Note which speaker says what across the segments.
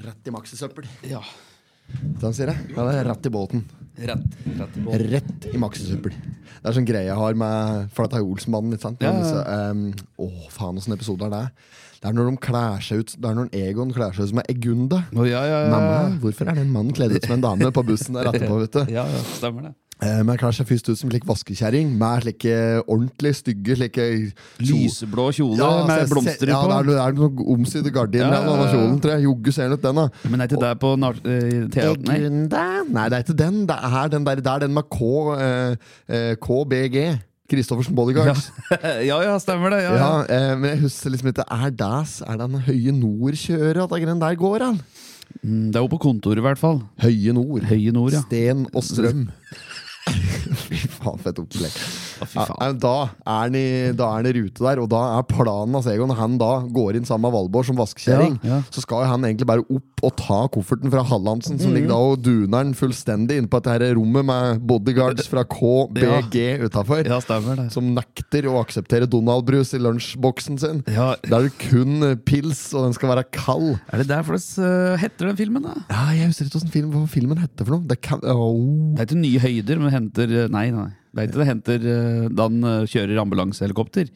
Speaker 1: Rett i maxisøppel.
Speaker 2: Ja.
Speaker 1: Sånn sier jeg. Ja, det er rett i båten.
Speaker 2: Rett. Rett i båten.
Speaker 1: Rett i maxisøppel. Det er sånn greie jeg har med For dette er jo Olsenbanden, ikke sant?
Speaker 2: Ja, ja, ja.
Speaker 1: Så, ehm, åh, faen, åssen episode er det? Det er når de klær seg ut Det er når Egon klær seg ut som ei Egunda.
Speaker 2: Å, ja, ja, ja.
Speaker 1: Mamma, hvorfor er den mannen kledd ut som en dame på bussen der etterpå? vet du?
Speaker 2: Ja, ja, stemmer det.
Speaker 1: Eh, men jeg klær seg først ut som slik vaskekjerring, med slike ordentlig stygge slike kjo-
Speaker 2: Lyseblå kjole med
Speaker 1: se-
Speaker 2: blomster
Speaker 1: ja,
Speaker 2: på.
Speaker 1: det er, det er noen omsydde gardiner
Speaker 2: Ja,
Speaker 1: ja,
Speaker 2: ja, ja.
Speaker 1: kjolen, tror jeg. Jogge ser den ut, den, da.
Speaker 2: Men er ikke det på nar- eh, tea- Nei.
Speaker 1: Egunda? Nei, det er ikke den. Det er den der, det er den med K, eh, eh, KBG. Christoffersen Bodyguards.
Speaker 2: ja, ja, stemmer det. Ja,
Speaker 1: Ja,
Speaker 2: ja.
Speaker 1: eh, men jeg husker liksom ikke Er det, er det den Høye Nord-kjøret at den der går, han?
Speaker 2: Mm, Det er jo på kontoret, i hvert fall.
Speaker 1: Høye Nord.
Speaker 2: Høye nord, ja.
Speaker 1: Sten og strøm. Fy faen, fett opplegg.
Speaker 2: Å, fy
Speaker 1: Ja,
Speaker 2: faen.
Speaker 1: nei, da er han i- da er han i rute der, og da er planen altså, Egon, han da går inn sammen med Valborg som vaskekjerring.
Speaker 2: Ja, ja.
Speaker 1: Så skal jo han egentlig bare opp og ta kofferten fra Hallandsen, som ligger da og duner den fullstendig inne på dette her rommet med bodyguards fra KBG utafor,
Speaker 2: Ja, stemmer det.
Speaker 1: som nekter å akseptere Donald-brus i lunsjboksen sin.
Speaker 2: Ja,
Speaker 1: Der er det kun eh, pils, og den skal være kald.
Speaker 2: er det derfor det eh, heter den filmen, da?
Speaker 1: Ja, jeg husker ikke hvordan film, hva filmen heter for noe. Det kan, Åh.
Speaker 2: Det er ikke Nye høyder, men henter eh, Nei, nei. Det er ikke det henter eh, da han eh, kjører ambulansehelikopter.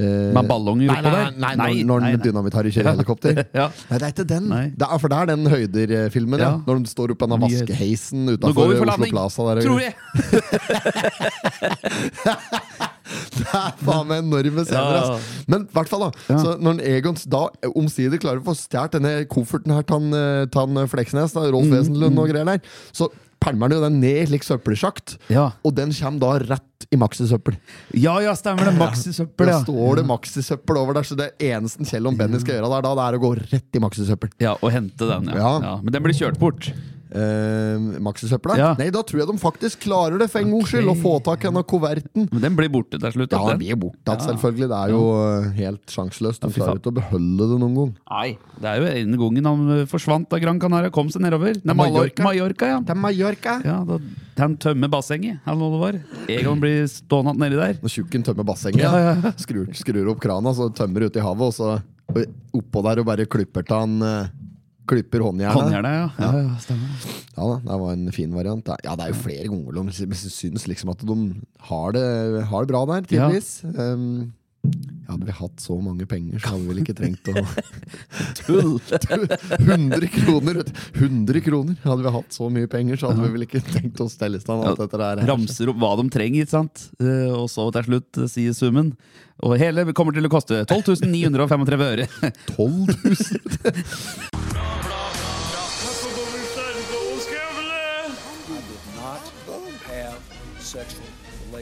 Speaker 1: Eh,
Speaker 2: Med ballonger
Speaker 1: Nei,
Speaker 2: oppå
Speaker 1: nei,
Speaker 2: der.
Speaker 1: nei, når, når dynamitt har i kjørehelikopter.
Speaker 2: Ja.
Speaker 1: Nei, det er ikke den.
Speaker 2: Nei.
Speaker 1: Det er, for det er den høyder-filmen. Ja.
Speaker 2: Ja.
Speaker 1: Når de står oppe på denne
Speaker 2: Mye-
Speaker 1: vaskeheisen
Speaker 2: Nå går
Speaker 1: utenfor
Speaker 2: vi
Speaker 1: Oslo
Speaker 2: for landing,
Speaker 1: Plaza. Der.
Speaker 2: tror jeg!
Speaker 1: Det er faen meg enorme scener.
Speaker 2: Ja.
Speaker 1: ass. Men i hvert fall, da.
Speaker 2: Ja.
Speaker 1: Så når Egon da omsider klarer å få stjålet denne kofferten her til han, eh, til han, eh, Fleksnes, da,
Speaker 2: Mm,
Speaker 1: Rolf Wesenlund og greier der, så pælmer han jo den ned i slik søppelsjakt.
Speaker 2: Ja.
Speaker 1: Og den kommer da rett i maxisøppel.
Speaker 2: ja, ja, stemmer det. Maxisøppel,
Speaker 1: Da
Speaker 2: ja.
Speaker 1: står det maxisøppel over der, så det eneste Kjell og Benny skal gjøre der, da, det er å gå rett i maxisøppel.
Speaker 2: Ja, Og hente den, ja.
Speaker 1: Ja.
Speaker 2: ja. Men den blir kjørt bort.
Speaker 1: Uh, Maxisøpla?
Speaker 2: Ja.
Speaker 1: Nei, da tror jeg de faktisk klarer det, for en gangs skyld, å få tak i denne kuverten.
Speaker 2: Men den blir borte til slutt.
Speaker 1: Ja,
Speaker 2: at den.
Speaker 1: vi er borte igjen, selvfølgelig. Det er jo eh, helt sjanseløst. De
Speaker 2: fy
Speaker 1: klarer
Speaker 2: faen.
Speaker 1: ikke å beholde det noen gang.
Speaker 2: Nei, det er jo en gangen han eh, forsvant av Gran Canaria, kom seg nedover. Nei,
Speaker 1: Mallorca.
Speaker 2: Mallorca. Mallorca, ja.
Speaker 1: Til Mallorca!
Speaker 2: ja da, han tømmer bassenget, eller hva det var. Egon blir stående nedi der.
Speaker 1: Når tjukken tømmer bassenget, Skrur, skrur opp krana, så tømmer ut i havet, og så og oppå der og bare klipper til han eh, Klipper håndjernet.
Speaker 2: Håndjernet, ja. ja. ja, stemmer. det.
Speaker 1: Ja da, det var en fin variant. Ja, det er jo flere ganger de sy- syns liksom at de har det, har det bra der,
Speaker 2: Ja.
Speaker 1: tydeligvis. Um, hadde vi hatt så mange penger, så hadde vi vel ikke trengt å
Speaker 2: Tull!
Speaker 1: 100 kroner! vet du. 100 kroner! Hadde vi hatt så mye penger, så hadde vi vel ikke tenkt å stelle i stand alt dette der. eh.
Speaker 2: Ramser opp hva de trenger, ikke sant? Eh, og så til slutt eh, sier summen. Og hele kommer til å koste 12 935 øre.
Speaker 1: 12 000!
Speaker 3: not have sexual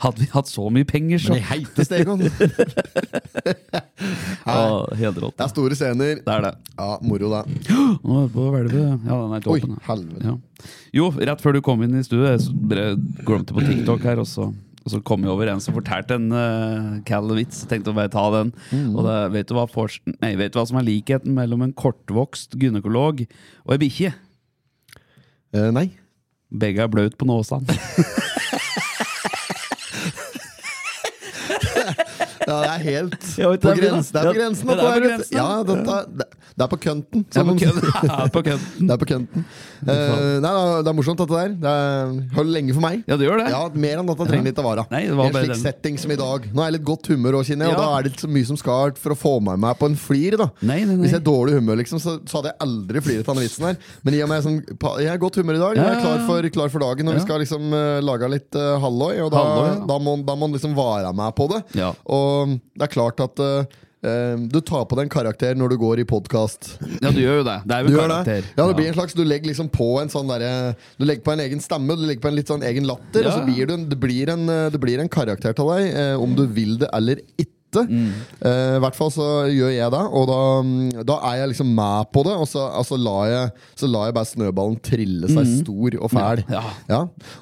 Speaker 2: Hadde vi hatt så mye penger, så
Speaker 1: Men i heiteste Egon! Det
Speaker 2: Ja, Helt rått.
Speaker 1: er store scener.
Speaker 2: Det er det.
Speaker 1: Ja, moro, da.
Speaker 2: Nå er vi på hvelvet. Ja, den er
Speaker 1: Oi,
Speaker 2: toppen. ja.
Speaker 1: helvete.
Speaker 2: Ja. Jo, rett før du kom inn i studiet, så bare glemte på TikTok her, og så, og så kom jeg over en som fortalte en uh, vits. Tenkte å bare ta den.
Speaker 1: Mm.
Speaker 2: Og det, vet, du hva fors- nei, vet du hva som er likheten mellom en kortvokst gynekolog og ei bikkje?
Speaker 1: Eh, nei.
Speaker 2: Begge er blaut på nåsene.
Speaker 1: Ja, det er helt
Speaker 2: Ja, vet du,
Speaker 1: på
Speaker 2: det er bra.
Speaker 1: grensen. Det er på
Speaker 2: Ja,
Speaker 1: grensen.
Speaker 2: det er
Speaker 1: dette her,
Speaker 2: på
Speaker 1: vet du.
Speaker 2: grensen.
Speaker 1: Ja, dette, det, det er på kønten.
Speaker 2: Ja,
Speaker 1: som
Speaker 2: på
Speaker 1: de-
Speaker 2: kødden. Ja, på kødden.
Speaker 1: Det er på kønten. Eh, nei, da, det er morsomt, dette der. Det er, holder lenge for meg.
Speaker 2: Ja, det gjør det.
Speaker 1: Ja, Mer enn dette trenger litt å vare.
Speaker 2: Nei, det var
Speaker 1: I en
Speaker 2: bare
Speaker 1: slik
Speaker 2: den.
Speaker 1: setting som i dag. Nå er jeg litt godt humør òg, kjenner jeg, og
Speaker 2: Ja.
Speaker 1: da er det ikke så mye som skal til for å få meg med på en flir. da
Speaker 2: Nei, nei, nei.
Speaker 1: Hvis jeg er i dårlig humør, liksom, så, så hadde jeg aldri fliret av denne vitsen her. Men i og med sånn, pa- jeg er i godt humør i dag, jeg er
Speaker 2: Ja, ja,
Speaker 1: klar
Speaker 2: ja.
Speaker 1: for, klar for dagen, og vi
Speaker 2: Ja.
Speaker 1: skal liksom eh, lage litt eh, halloi, og da,
Speaker 2: Halloi, ja.
Speaker 1: da, må, da må man liksom være med på det.
Speaker 2: Ja.
Speaker 1: Og mm, det er klart at eh, eh, du tar på deg en karakter når du går i podkast.
Speaker 2: Ja, du gjør jo det. Det er
Speaker 1: Du
Speaker 2: jo en
Speaker 1: gjør det?
Speaker 2: karakter.
Speaker 1: Ja, det blir en slags, du legger liksom på en sånn derre Du legger på en egen stemme, du legger på en litt sånn egen latter,
Speaker 2: Ja.
Speaker 1: og så blir du, en- det blir en, eh, det blir en karakter til deg, eh, om du vil det eller ikke. vite.
Speaker 2: Mm.
Speaker 1: Eh, I hvert fall så gjør jeg det, og da, mm, da er jeg liksom med på det. Og så, altså, lar, jeg, så lar jeg bare snøballen trille seg stor og fæl.
Speaker 2: Mm. Ja.
Speaker 1: Ja.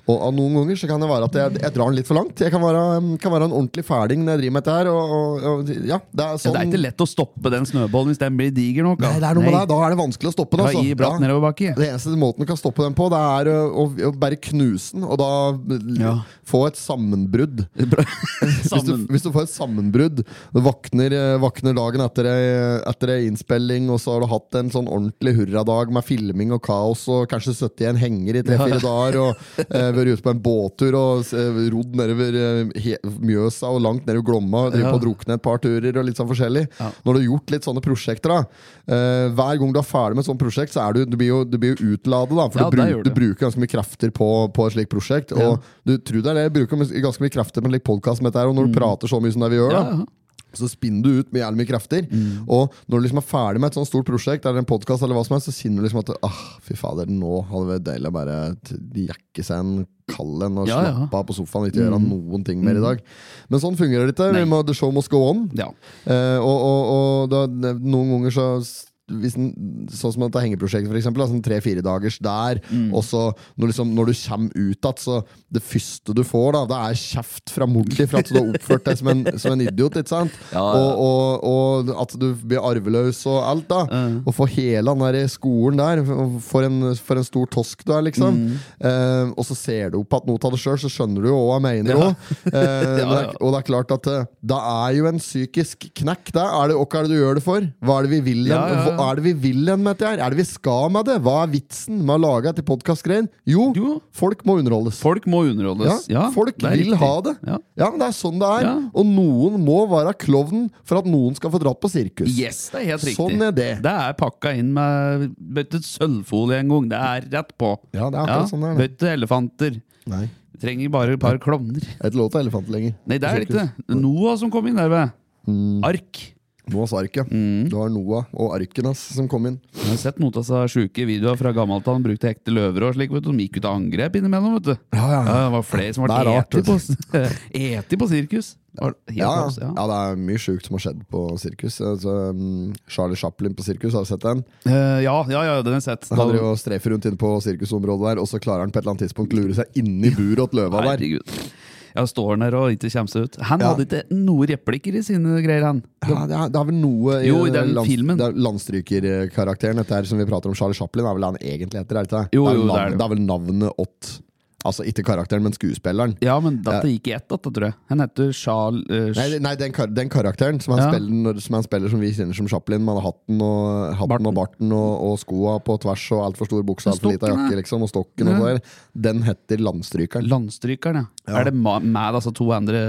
Speaker 1: Og, og noen ganger så kan det være at jeg, jeg drar den litt for langt. Jeg kan være, mm, kan være en ordentlig fæling når jeg driver med dette her. Og, og, og, ja, det er
Speaker 2: Ja,
Speaker 1: sånn
Speaker 2: det er ikke lett å stoppe den snøballen hvis den blir diger nok. da.
Speaker 1: Nei, det er noe med
Speaker 2: Nei.
Speaker 1: det. Da er det altså. vanskelig å stoppe den.
Speaker 2: Ja, i bratt nedoverbakke.
Speaker 1: Det eneste måten du kan stoppe den på, det er å, å, å bare knuse den, og da l-
Speaker 2: Ja.
Speaker 1: få et sammenbrudd. Hvis du,
Speaker 2: Sammen.
Speaker 1: hvis du får et sammenbrudd, du våkner, eh, våkner dagen etter ei, etter ei innspilling, og så har du hatt en sånn ordentlig hurradag med filming og kaos, og kanskje sittet i en henger i tre-fire dager, og eh, vært ute på en båttur og eh, rodd nedover eh, he, Mjøsa og langt nedover Glomma, og drevet
Speaker 2: Ja.
Speaker 1: på å drukne et par turer og litt sånn forskjellig. Når du har gjort litt sånne prosjekter, da, eh, hver gang du er ferdig med et sånt prosjekt, så er du, du blir jo, du blir jo utladet, da, for
Speaker 2: Ja,
Speaker 1: du,
Speaker 2: det
Speaker 1: bruker,
Speaker 2: gjør du.
Speaker 1: du bruker ganske mye krefter på, på et slikt prosjekt. Og du tror det er det, jeg bruker mye- ganske mye krefter på en slik podkast som dette, her, og når du prater så mye som det vi gjør,
Speaker 2: Mm. Ja, Mm.
Speaker 1: da, så spinner du ut med jævlig mye krefter. Og når du liksom er ferdig med et sånt stort prosjekt, eller en podcast eller hva som helst, så kjenner du liksom at ah, fy fader, nå hadde det vært deilig å bare t- jekke seg en kald en og
Speaker 2: Ja, ja. Mm.
Speaker 1: slappe av på sofaen og ikke gjøre noen ting mer i dag. Men sånn fungerer det ikke. Vi må, the show must go on.
Speaker 2: ja.
Speaker 1: Eh, og og, og da, noen ganger så hvis den, sånn som dette hengeprosjektet, for eksempel. da, Sånn Tre-fire dagers der.
Speaker 2: Mm.
Speaker 1: Og så når, liksom, når du kommer ut igjen, så det første du får, da, det er kjeft fra mor di for at du har oppført deg som en, som en idiot. ikke sant?
Speaker 2: Ja, ja.
Speaker 1: Og, og, og at du blir arveløs og alt, da. Og får hele den der skolen der. og For en, for en stor tosk du er, liksom.
Speaker 2: Mm.
Speaker 1: Eh, og så ser du opp at noe av det sjøl, så skjønner du jo hva jeg mener
Speaker 2: Ja.
Speaker 1: òg. Eh,
Speaker 2: Ja,
Speaker 1: men det
Speaker 2: ja.
Speaker 1: er, og det er klart at eh, det er jo en psykisk knekk. Da. Er det, og hva er det du gjør det for? Hva er det vi vil hen,
Speaker 2: Ja, ja, ja.
Speaker 1: Hva er det vi vil hen med dette her? Er det vi skal med det? Hva er vitsen med å lage dette podkastgreien? Jo,
Speaker 2: Jo.
Speaker 1: folk må underholdes.
Speaker 2: Folk må underholdes. Ja,
Speaker 1: folk
Speaker 2: det er
Speaker 1: vil
Speaker 2: riktig.
Speaker 1: ha det.
Speaker 2: Ja.
Speaker 1: men det er sånn det er.
Speaker 2: Ja.
Speaker 1: Og noen må være klovnen for at noen skal få dratt på sirkus.
Speaker 2: Yes, det er helt riktig.
Speaker 1: Sånn er det.
Speaker 2: Det er pakka inn med vet du, sølvfolie en gang. Det er rett på.
Speaker 1: Ja, det er akkurat sånn det er, det.
Speaker 2: Vet du, elefanter.
Speaker 1: Nei,
Speaker 2: Vi Trenger bare et par klovner.
Speaker 1: det er ikke lov til elefanter lenger.
Speaker 2: Nei, det er det ikke det. Noah som kom inn der, ved.
Speaker 1: Mm.
Speaker 2: Ark.
Speaker 1: Noahs ark, ja.
Speaker 2: Mm.
Speaker 1: Det var Noah og arken hans som kom inn.
Speaker 2: Jeg har sett noen av disse sjuke videoer fra gammelt av han brukte ekte løver og slik. vet du De gikk ut av angrep innimellom, vet du.
Speaker 1: Ja, ja, ja.
Speaker 2: Det var flere som
Speaker 1: Det er
Speaker 2: ble
Speaker 1: rart,
Speaker 2: eti på, eti på sirkus. Det var helt
Speaker 1: Ja,
Speaker 2: kaos,
Speaker 1: ja. ja, det er mye sjukt som har skjedd på sirkus. Altså, mm, Charlie Chaplin på sirkus, har du sett den?
Speaker 2: Eh, ja, ja, ja, den har jeg sett.
Speaker 1: Han driver og strefer rundt inne på sirkusområdet der, og så klarer han på et eller annet tidspunkt lure seg inni buret åt løva der.
Speaker 2: Herregud. Ja, står han der og ikke kommer seg ut. Han
Speaker 1: Ja.
Speaker 2: hadde ikke noen replikker i sine greier, han.
Speaker 1: Ja, det, er, det er vel noe i
Speaker 2: Jo, i den filmen.
Speaker 1: det er landstrykerkarakteren dette her, som vi prater om. Charlie Chaplin er vel han egentlig heter, er det ikke det?
Speaker 2: Jo,
Speaker 1: det, er
Speaker 2: jo, det
Speaker 1: navn,
Speaker 2: er det.
Speaker 1: det er vel navnet åt Altså ikke karakteren, men skuespilleren.
Speaker 2: Ja, men dette gikk i ett, dette, tror jeg. Han heter Charles eh,
Speaker 1: Nei, det- nei den, kar den karakteren som han,
Speaker 2: Ja.
Speaker 1: spiller, når, som han spiller som vi kjenner som Chaplin, med hatten og, hatten
Speaker 2: Barten.
Speaker 1: og barten og, og skoa på tvers og altfor stor bukse altfor lita
Speaker 2: Stokken, ja.
Speaker 1: jakke, liksom, og stokken og
Speaker 2: Ja.
Speaker 1: sånn, den heter Landstrykeren.
Speaker 2: Landstrykeren, ja. Er det ma- med altså to andre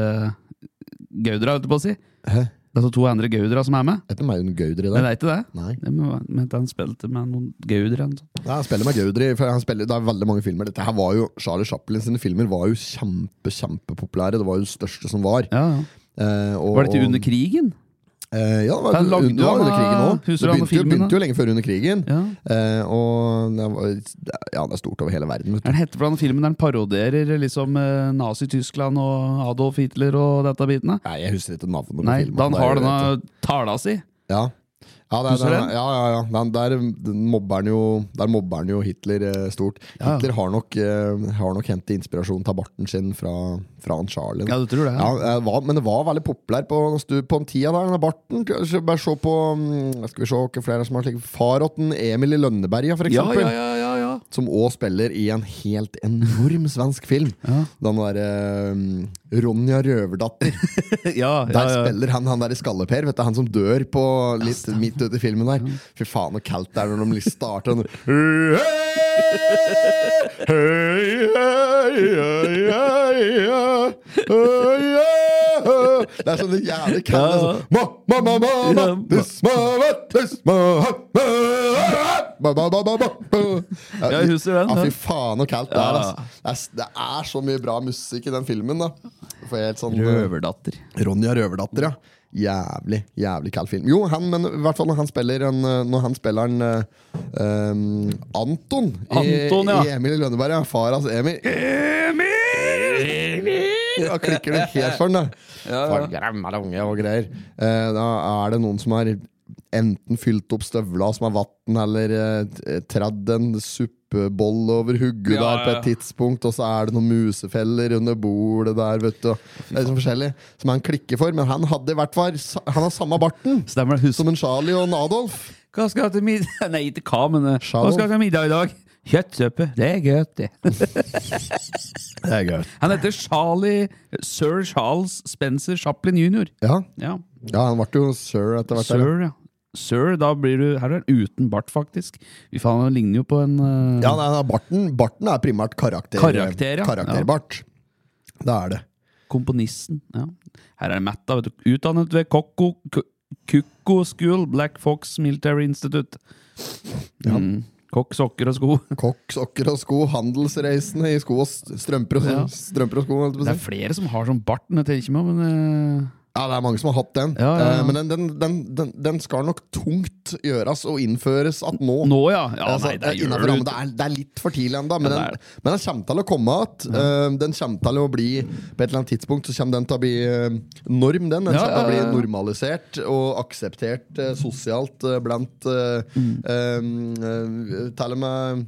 Speaker 2: gaudere, holdt jeg på å si?
Speaker 1: Hæ?
Speaker 2: Det er altså to andre gaudere som er med?
Speaker 1: Heter Maun Gaudri
Speaker 2: Nei,
Speaker 1: der?
Speaker 2: det er ikke det?
Speaker 1: Nei.
Speaker 2: Det må være- Men han spilte med noen gaudere. altså. eller noe sånt.
Speaker 1: Nei, han spiller med Gaudri. For han spiller, det er veldig mange filmer. Dette her var jo, Charlie Chaplin sine filmer var jo kjempe, kjempepopulære. Det var jo det største som var.
Speaker 2: Ja, ja.
Speaker 1: Eh, og,
Speaker 2: Var dette
Speaker 1: og-
Speaker 2: under krigen?
Speaker 1: Eh, ja, det var,
Speaker 2: Han lagde
Speaker 1: un- det var
Speaker 2: jo
Speaker 1: under
Speaker 2: han,
Speaker 1: krigen òg. Det
Speaker 2: husker du han
Speaker 1: begynte, jo-
Speaker 2: filmen,
Speaker 1: begynte
Speaker 2: da?
Speaker 1: jo lenge før under krigen.
Speaker 2: Ja.
Speaker 1: Eh, og det, var, ja, det er stort over hele verden. Vet du.
Speaker 2: Er det hette for den filmen der han parodierer liksom eh, Nazi-Tyskland og Adolf Hitler og dette bitene?
Speaker 1: Nei, jeg husker ikke navnet på
Speaker 2: Nei,
Speaker 1: filmen.
Speaker 2: da han
Speaker 1: Det er
Speaker 2: har
Speaker 1: jo
Speaker 2: denne
Speaker 1: rett.
Speaker 2: tala si.
Speaker 1: Ja, ja, det er,
Speaker 2: Husker du
Speaker 1: det er-
Speaker 2: den?
Speaker 1: ja, ja, ja. Den, der, den mobber han jo, der mobber han jo Hitler eh, stort.
Speaker 2: Ja.
Speaker 1: Hitler har nok, eh, har nok hentet inspirasjon til barten sin fra, fra han Charlie.
Speaker 2: Ja, du tror det?
Speaker 1: Ja, eh, var, men det var veldig populær på, stu- på den tida der, denne barten. Kanskje Bare se på mm, skal vi se, hva flere som har slik Farotten Emil i Lønneberga, for
Speaker 2: Ja,
Speaker 1: eksempel.
Speaker 2: ja, ja, ja, ja.
Speaker 1: Som òg spiller i en helt enorm svensk film.
Speaker 2: Ja.
Speaker 1: Den derre eh, Ronja Røverdatter.
Speaker 2: ja, ja,
Speaker 1: Der
Speaker 2: ja.
Speaker 1: spiller han han der i Skalleper, vet du, han som dør på litt midt ute i filmen der. Fy faen, så kaldt det er når de liksom starter den. Det er sånn det jævlig kaldt. det er sånn, Ma, ma, ma, ma, ma, this, ma, ma, this, ma, ha, ma, ha, ma, ma, ma, ma, ma.
Speaker 2: Ja, jeg husker den,
Speaker 1: Ja,
Speaker 2: ja.
Speaker 1: fy faen, så kaldt det er. Altså. Det, er, det er så mye bra musikk i den filmen. da Får jeg helt sånn
Speaker 2: Røverdatter.
Speaker 1: Ronja Røverdatter, ja. Jævlig jævlig kald film. Jo, han, men i hvert fall når han spiller en, eh, Når han spiller en, eh, ehm, Anton, i,
Speaker 2: Anton, ja.
Speaker 1: i Emil i Lønneberg. Ja. Far hans Emil.
Speaker 2: Emil!
Speaker 1: Da klikker du helt for den, da.
Speaker 2: Ja, ja.
Speaker 1: Faen, gremmer unge og greier. Eh, da er det noen som har enten fylt opp støvla som er vann, eller eh, tradd en suppeboll over hodet
Speaker 2: Ja,
Speaker 1: der på
Speaker 2: ja,
Speaker 1: et
Speaker 2: ja.
Speaker 1: tidspunkt, og så er det noen musefeller under bordet der, vet du. og Det er liksom forskjellig som han klikker for, men han hadde i hvert fall sa- Han har samme barten
Speaker 2: Stemmer det. Husk
Speaker 1: som en Charlie og en Adolf.
Speaker 2: hva skal jeg til middag Nei, ikke hva, men eh, hva
Speaker 1: Shalom.
Speaker 2: skal jeg til middag i dag? Kjøttsuppe. Det er godt, det.
Speaker 1: Det er gøy.
Speaker 2: Han heter Charlie Sir Charles Spencer Chaplin jr.
Speaker 1: Ja,
Speaker 2: Ja.
Speaker 1: ja han ble jo sir etter hvert. eller?
Speaker 2: Sir, ja. Sir, da blir du Her er han uten bart, faktisk. Fy faen, han ligner jo på en eh,
Speaker 1: Ja, nei, nei, barten, barten er primært karakter,
Speaker 2: Karakter, ja.
Speaker 1: karakterbart. Det er det.
Speaker 2: komponisten. Ja. Her er det Matt, da. Vet du. Utdannet ved Kokko K- Kukko School, Black Fox Military Institute. Mm. Kokk, sokker og sko.
Speaker 1: Kokk, sokker og sko, handelsreisende i sko og s- strømper og,
Speaker 2: Ja.
Speaker 1: strømper og sko. holdt jeg på å si.
Speaker 2: Det er flere som har sånn bart, men eh, jeg tenker ikke meg om. Men,
Speaker 1: Ja, det er mange som har hatt den.
Speaker 2: Ja, ja, ja.
Speaker 1: Eh, Men den, den, den, den, den skal nok tungt gjøres og innføres at nå.
Speaker 2: eh, nå, ja. ja
Speaker 1: Altså,
Speaker 2: nei, det
Speaker 1: eh, innenfor
Speaker 2: gjør
Speaker 1: rammen.
Speaker 2: du.
Speaker 1: det, er, det er litt for tidlig ennå, men,
Speaker 2: Ja,
Speaker 1: den-
Speaker 2: det
Speaker 1: men
Speaker 2: Mm. er
Speaker 1: den kommer til å komme igjen. Eh, Den kommer til å bli På et eller annet tidspunkt så kommer den til å bli eh, norm. Den, den
Speaker 2: Ja,
Speaker 1: kommer til å bli
Speaker 2: ja, ja.
Speaker 1: normalisert og akseptert eh, sosialt eh, blant eh,
Speaker 2: Mm.
Speaker 1: eh, eh, Til og med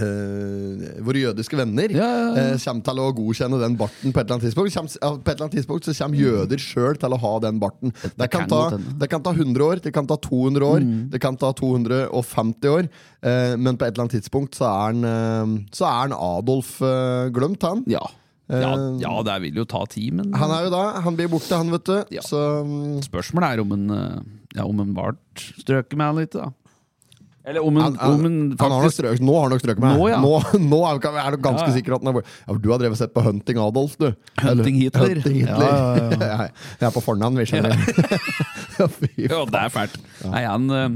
Speaker 1: eh, våre jødiske venner
Speaker 2: Ja, ja, ja.
Speaker 1: eh, kommer til å godkjenne den barten på et eller annet tidspunkt. Kommer, ja, på et eller annet tidspunkt så kommer jøder sjøl til å ha den barten. Det kan,
Speaker 2: kan
Speaker 1: ta,
Speaker 2: godt hende.
Speaker 1: det kan ta 100 år, det kan ta 200 år,
Speaker 2: Mm.
Speaker 1: det kan ta 250 år. Eh, men på et eller annet tidspunkt så er han, eh, så er han Adolf eh, glemt, han.
Speaker 2: Ja. Ja, ja, det vil jo ta tid, men
Speaker 1: Eh, Han er jo da, han blir borte, han, vet du.
Speaker 2: Ja.
Speaker 1: Så mm,
Speaker 2: spørsmålet er om en, eh, ja, om en bart strøker meg litt, da. Eller om en,
Speaker 1: han, han,
Speaker 2: om en
Speaker 1: han har nok
Speaker 2: faktisk
Speaker 1: strøk, nå har han nok strøket meg.
Speaker 2: Nå, ja.
Speaker 1: nå, nå er vi- er du ganske
Speaker 2: Ja, ja.
Speaker 1: sikker at han er borte. Ja, for du har drevet og sett på Hunting Adolf, du.
Speaker 2: Hunting Hitler.
Speaker 1: Hunting Hitler.
Speaker 2: Ja, ja,
Speaker 1: Jeg er på fornavn, vi skjønner. Ja. Fy
Speaker 2: Ja, det er fælt. Nei, han eh,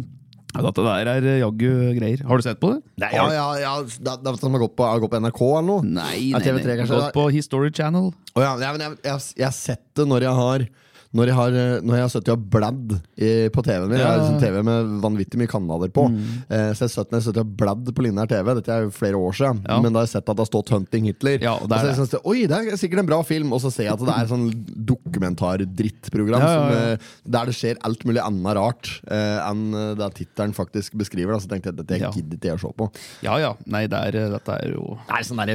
Speaker 2: Dette der er eh, jaggu greier. Har du sett på det? Nei,
Speaker 1: Ja, ja, ja. Det, det er som har gått på, har gått på NRK eller noe?
Speaker 2: Nei,
Speaker 1: Ja,
Speaker 2: nei,
Speaker 1: TV3
Speaker 2: nei.
Speaker 1: kanskje,
Speaker 2: Gått på History Channel.
Speaker 1: Å ja, nei, men jeg, jeg, jeg har sett det når jeg har når jeg har, eh, når jeg har sittet og bladd i, på TV-en min. Jeg har
Speaker 2: Ja. Mm.
Speaker 1: liksom TV med vanvittig mye kanaler på. Eh, så jeg satt når jeg satt og bladd på linjær TV. Dette er jo flere år siden.
Speaker 2: Ja.
Speaker 1: Men da har jeg sett at det har stått 'Hunting Hitler'.
Speaker 2: Ja, og det er
Speaker 1: og så jeg synes, Oi, det er sikkert en bra film! Og så ser jeg at det er sånn dokumentar-drittprogram
Speaker 2: Ja, ja, ja.
Speaker 1: som, eh, der det skjer alt mulig annet rart eh, enn eh, det tittelen faktisk beskriver. Da. Så tenkte jeg dette
Speaker 2: Ja.
Speaker 1: gidder ikke jeg å se på.
Speaker 2: Ja ja. Nei, det er, eh, dette er jo
Speaker 1: Det er sånn der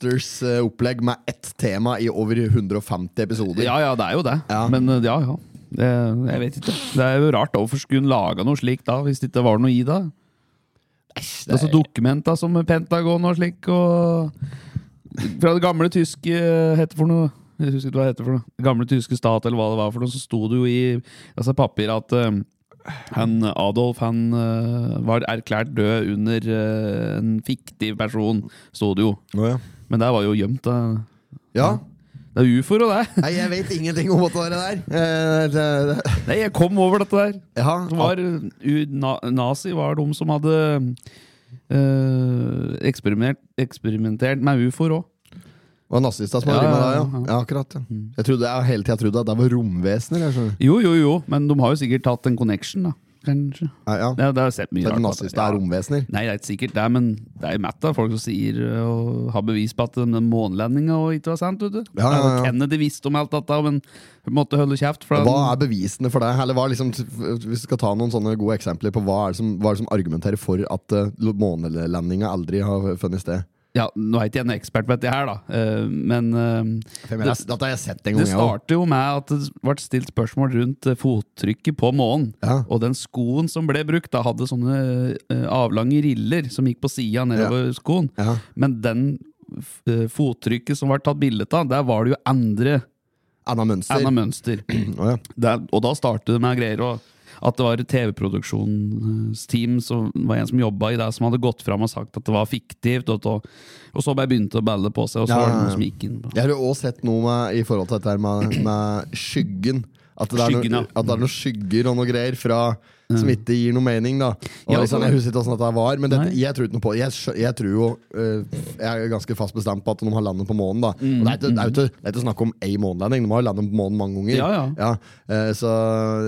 Speaker 1: Mythbusters-opplegg med ett tema i over 150 episoder.
Speaker 2: Ja ja, det er jo det.
Speaker 1: Ja.
Speaker 2: Men eh, ja ja. Det, jeg vet ikke. Det er jo rart. Hvorfor skulle hun laga noe slikt da, hvis det ikke var noe i det?
Speaker 1: det
Speaker 2: Altså dokumenter som Pentagon og slik, og Fra det gamle tyske eh, hette for noe Jeg husker ikke hva det heter for noe. Gamle tyske stat, eller hva det var for noe, så sto det jo i altså, papir at eh, han, Adolf han eh, var erklært død under eh, en fiktiv person, sto det jo.
Speaker 1: ja.
Speaker 2: Men det var jo gjemt. da. Det er ufoer og det.
Speaker 1: Nei, jeg vet ingenting om dette der. Eh, det, det.
Speaker 2: Nei, jeg kom over dette der.
Speaker 1: Ja.
Speaker 2: Som var, u, na, nazi var de som hadde eh, eksperimentert, eksperimentert med ufoer òg.
Speaker 1: Det var nazister som
Speaker 2: Ja,
Speaker 1: hadde ja,
Speaker 2: ja, Mm.
Speaker 1: ja, ja. ja, akkurat. Ja. Jeg trodde jeg hele tida trodde at det var romvesener. Jeg skjønner.
Speaker 2: Jo, jo, jo, men de har jo sikkert tatt en connection, da. Kanskje.
Speaker 1: Ja, ja.
Speaker 2: Det, det har jeg sett mye
Speaker 1: Så
Speaker 2: rart.
Speaker 1: at
Speaker 2: da.
Speaker 1: nazister er
Speaker 2: Ja.
Speaker 1: romvesener.
Speaker 2: Nei, det er ikke sikkert det, men det er jo matt av folk som sier øh, og har bevis på at den månelandinga og ikke var sant, vet du.
Speaker 1: Ja, ja, ja.
Speaker 2: Og Kennedy visste om alt dette, men måtte holde kjeft. For
Speaker 1: Hva er bevisene for det? Eller hva er liksom, hvis du skal ta noen sånne gode eksempler på hva er det som, hva er det som argumenterer for at uh, månelandinga aldri har funnet sted?
Speaker 2: ja, nå er ikke jeg noen ekspert på dette her, da, eh, men eh,
Speaker 1: Jeg mener,
Speaker 2: det,
Speaker 1: det, dette har jeg sett en gang.
Speaker 2: det
Speaker 1: jeg også.
Speaker 2: starter jo med at det ble stilt spørsmål rundt eh, fottrykket på månen.
Speaker 1: Ja.
Speaker 2: Og den skoen som ble brukt, da hadde sånne eh, avlange riller som gikk på sida nedover skoen.
Speaker 1: Ja.
Speaker 2: Men den f- eh, fottrykket som var tatt bilde av, der var det jo andre
Speaker 1: Anna Mønster.
Speaker 2: Anna Mønster.
Speaker 1: Å, ja.
Speaker 2: Der, og da startet det med greier og at det var et TV-produksjonsteam som var en som jobba i det, som hadde gått fram og sagt at det var fiktivt. Og, og, og så bare begynte å balle på seg, og så
Speaker 1: Ja,
Speaker 2: var det
Speaker 1: ja, ja.
Speaker 2: noen som gikk inn. på-
Speaker 1: Jeg har jo også sett noe med, i forhold til dette her med, med skyggen. At det, er
Speaker 2: Skyggen, ja.
Speaker 1: noe, at det er noen skygger og noe greier fra, som ikke gir noe mening. da og
Speaker 2: Ja,
Speaker 1: liksom,
Speaker 2: altså-
Speaker 1: Jeg husker ikke hvordan dette var, men dette,
Speaker 2: Nei.
Speaker 1: jeg tror ikke noe på det. jeg, skjø- jeg tror jo øh, Jeg er ganske fast bestemt på at de har landet på månen. da og
Speaker 2: Mm.
Speaker 1: det, er ikke, det, er jo ikke, det er ikke snakk om ei månelanding, de har jo landet på månen mange ganger.
Speaker 2: Ja, ja.
Speaker 1: eh, så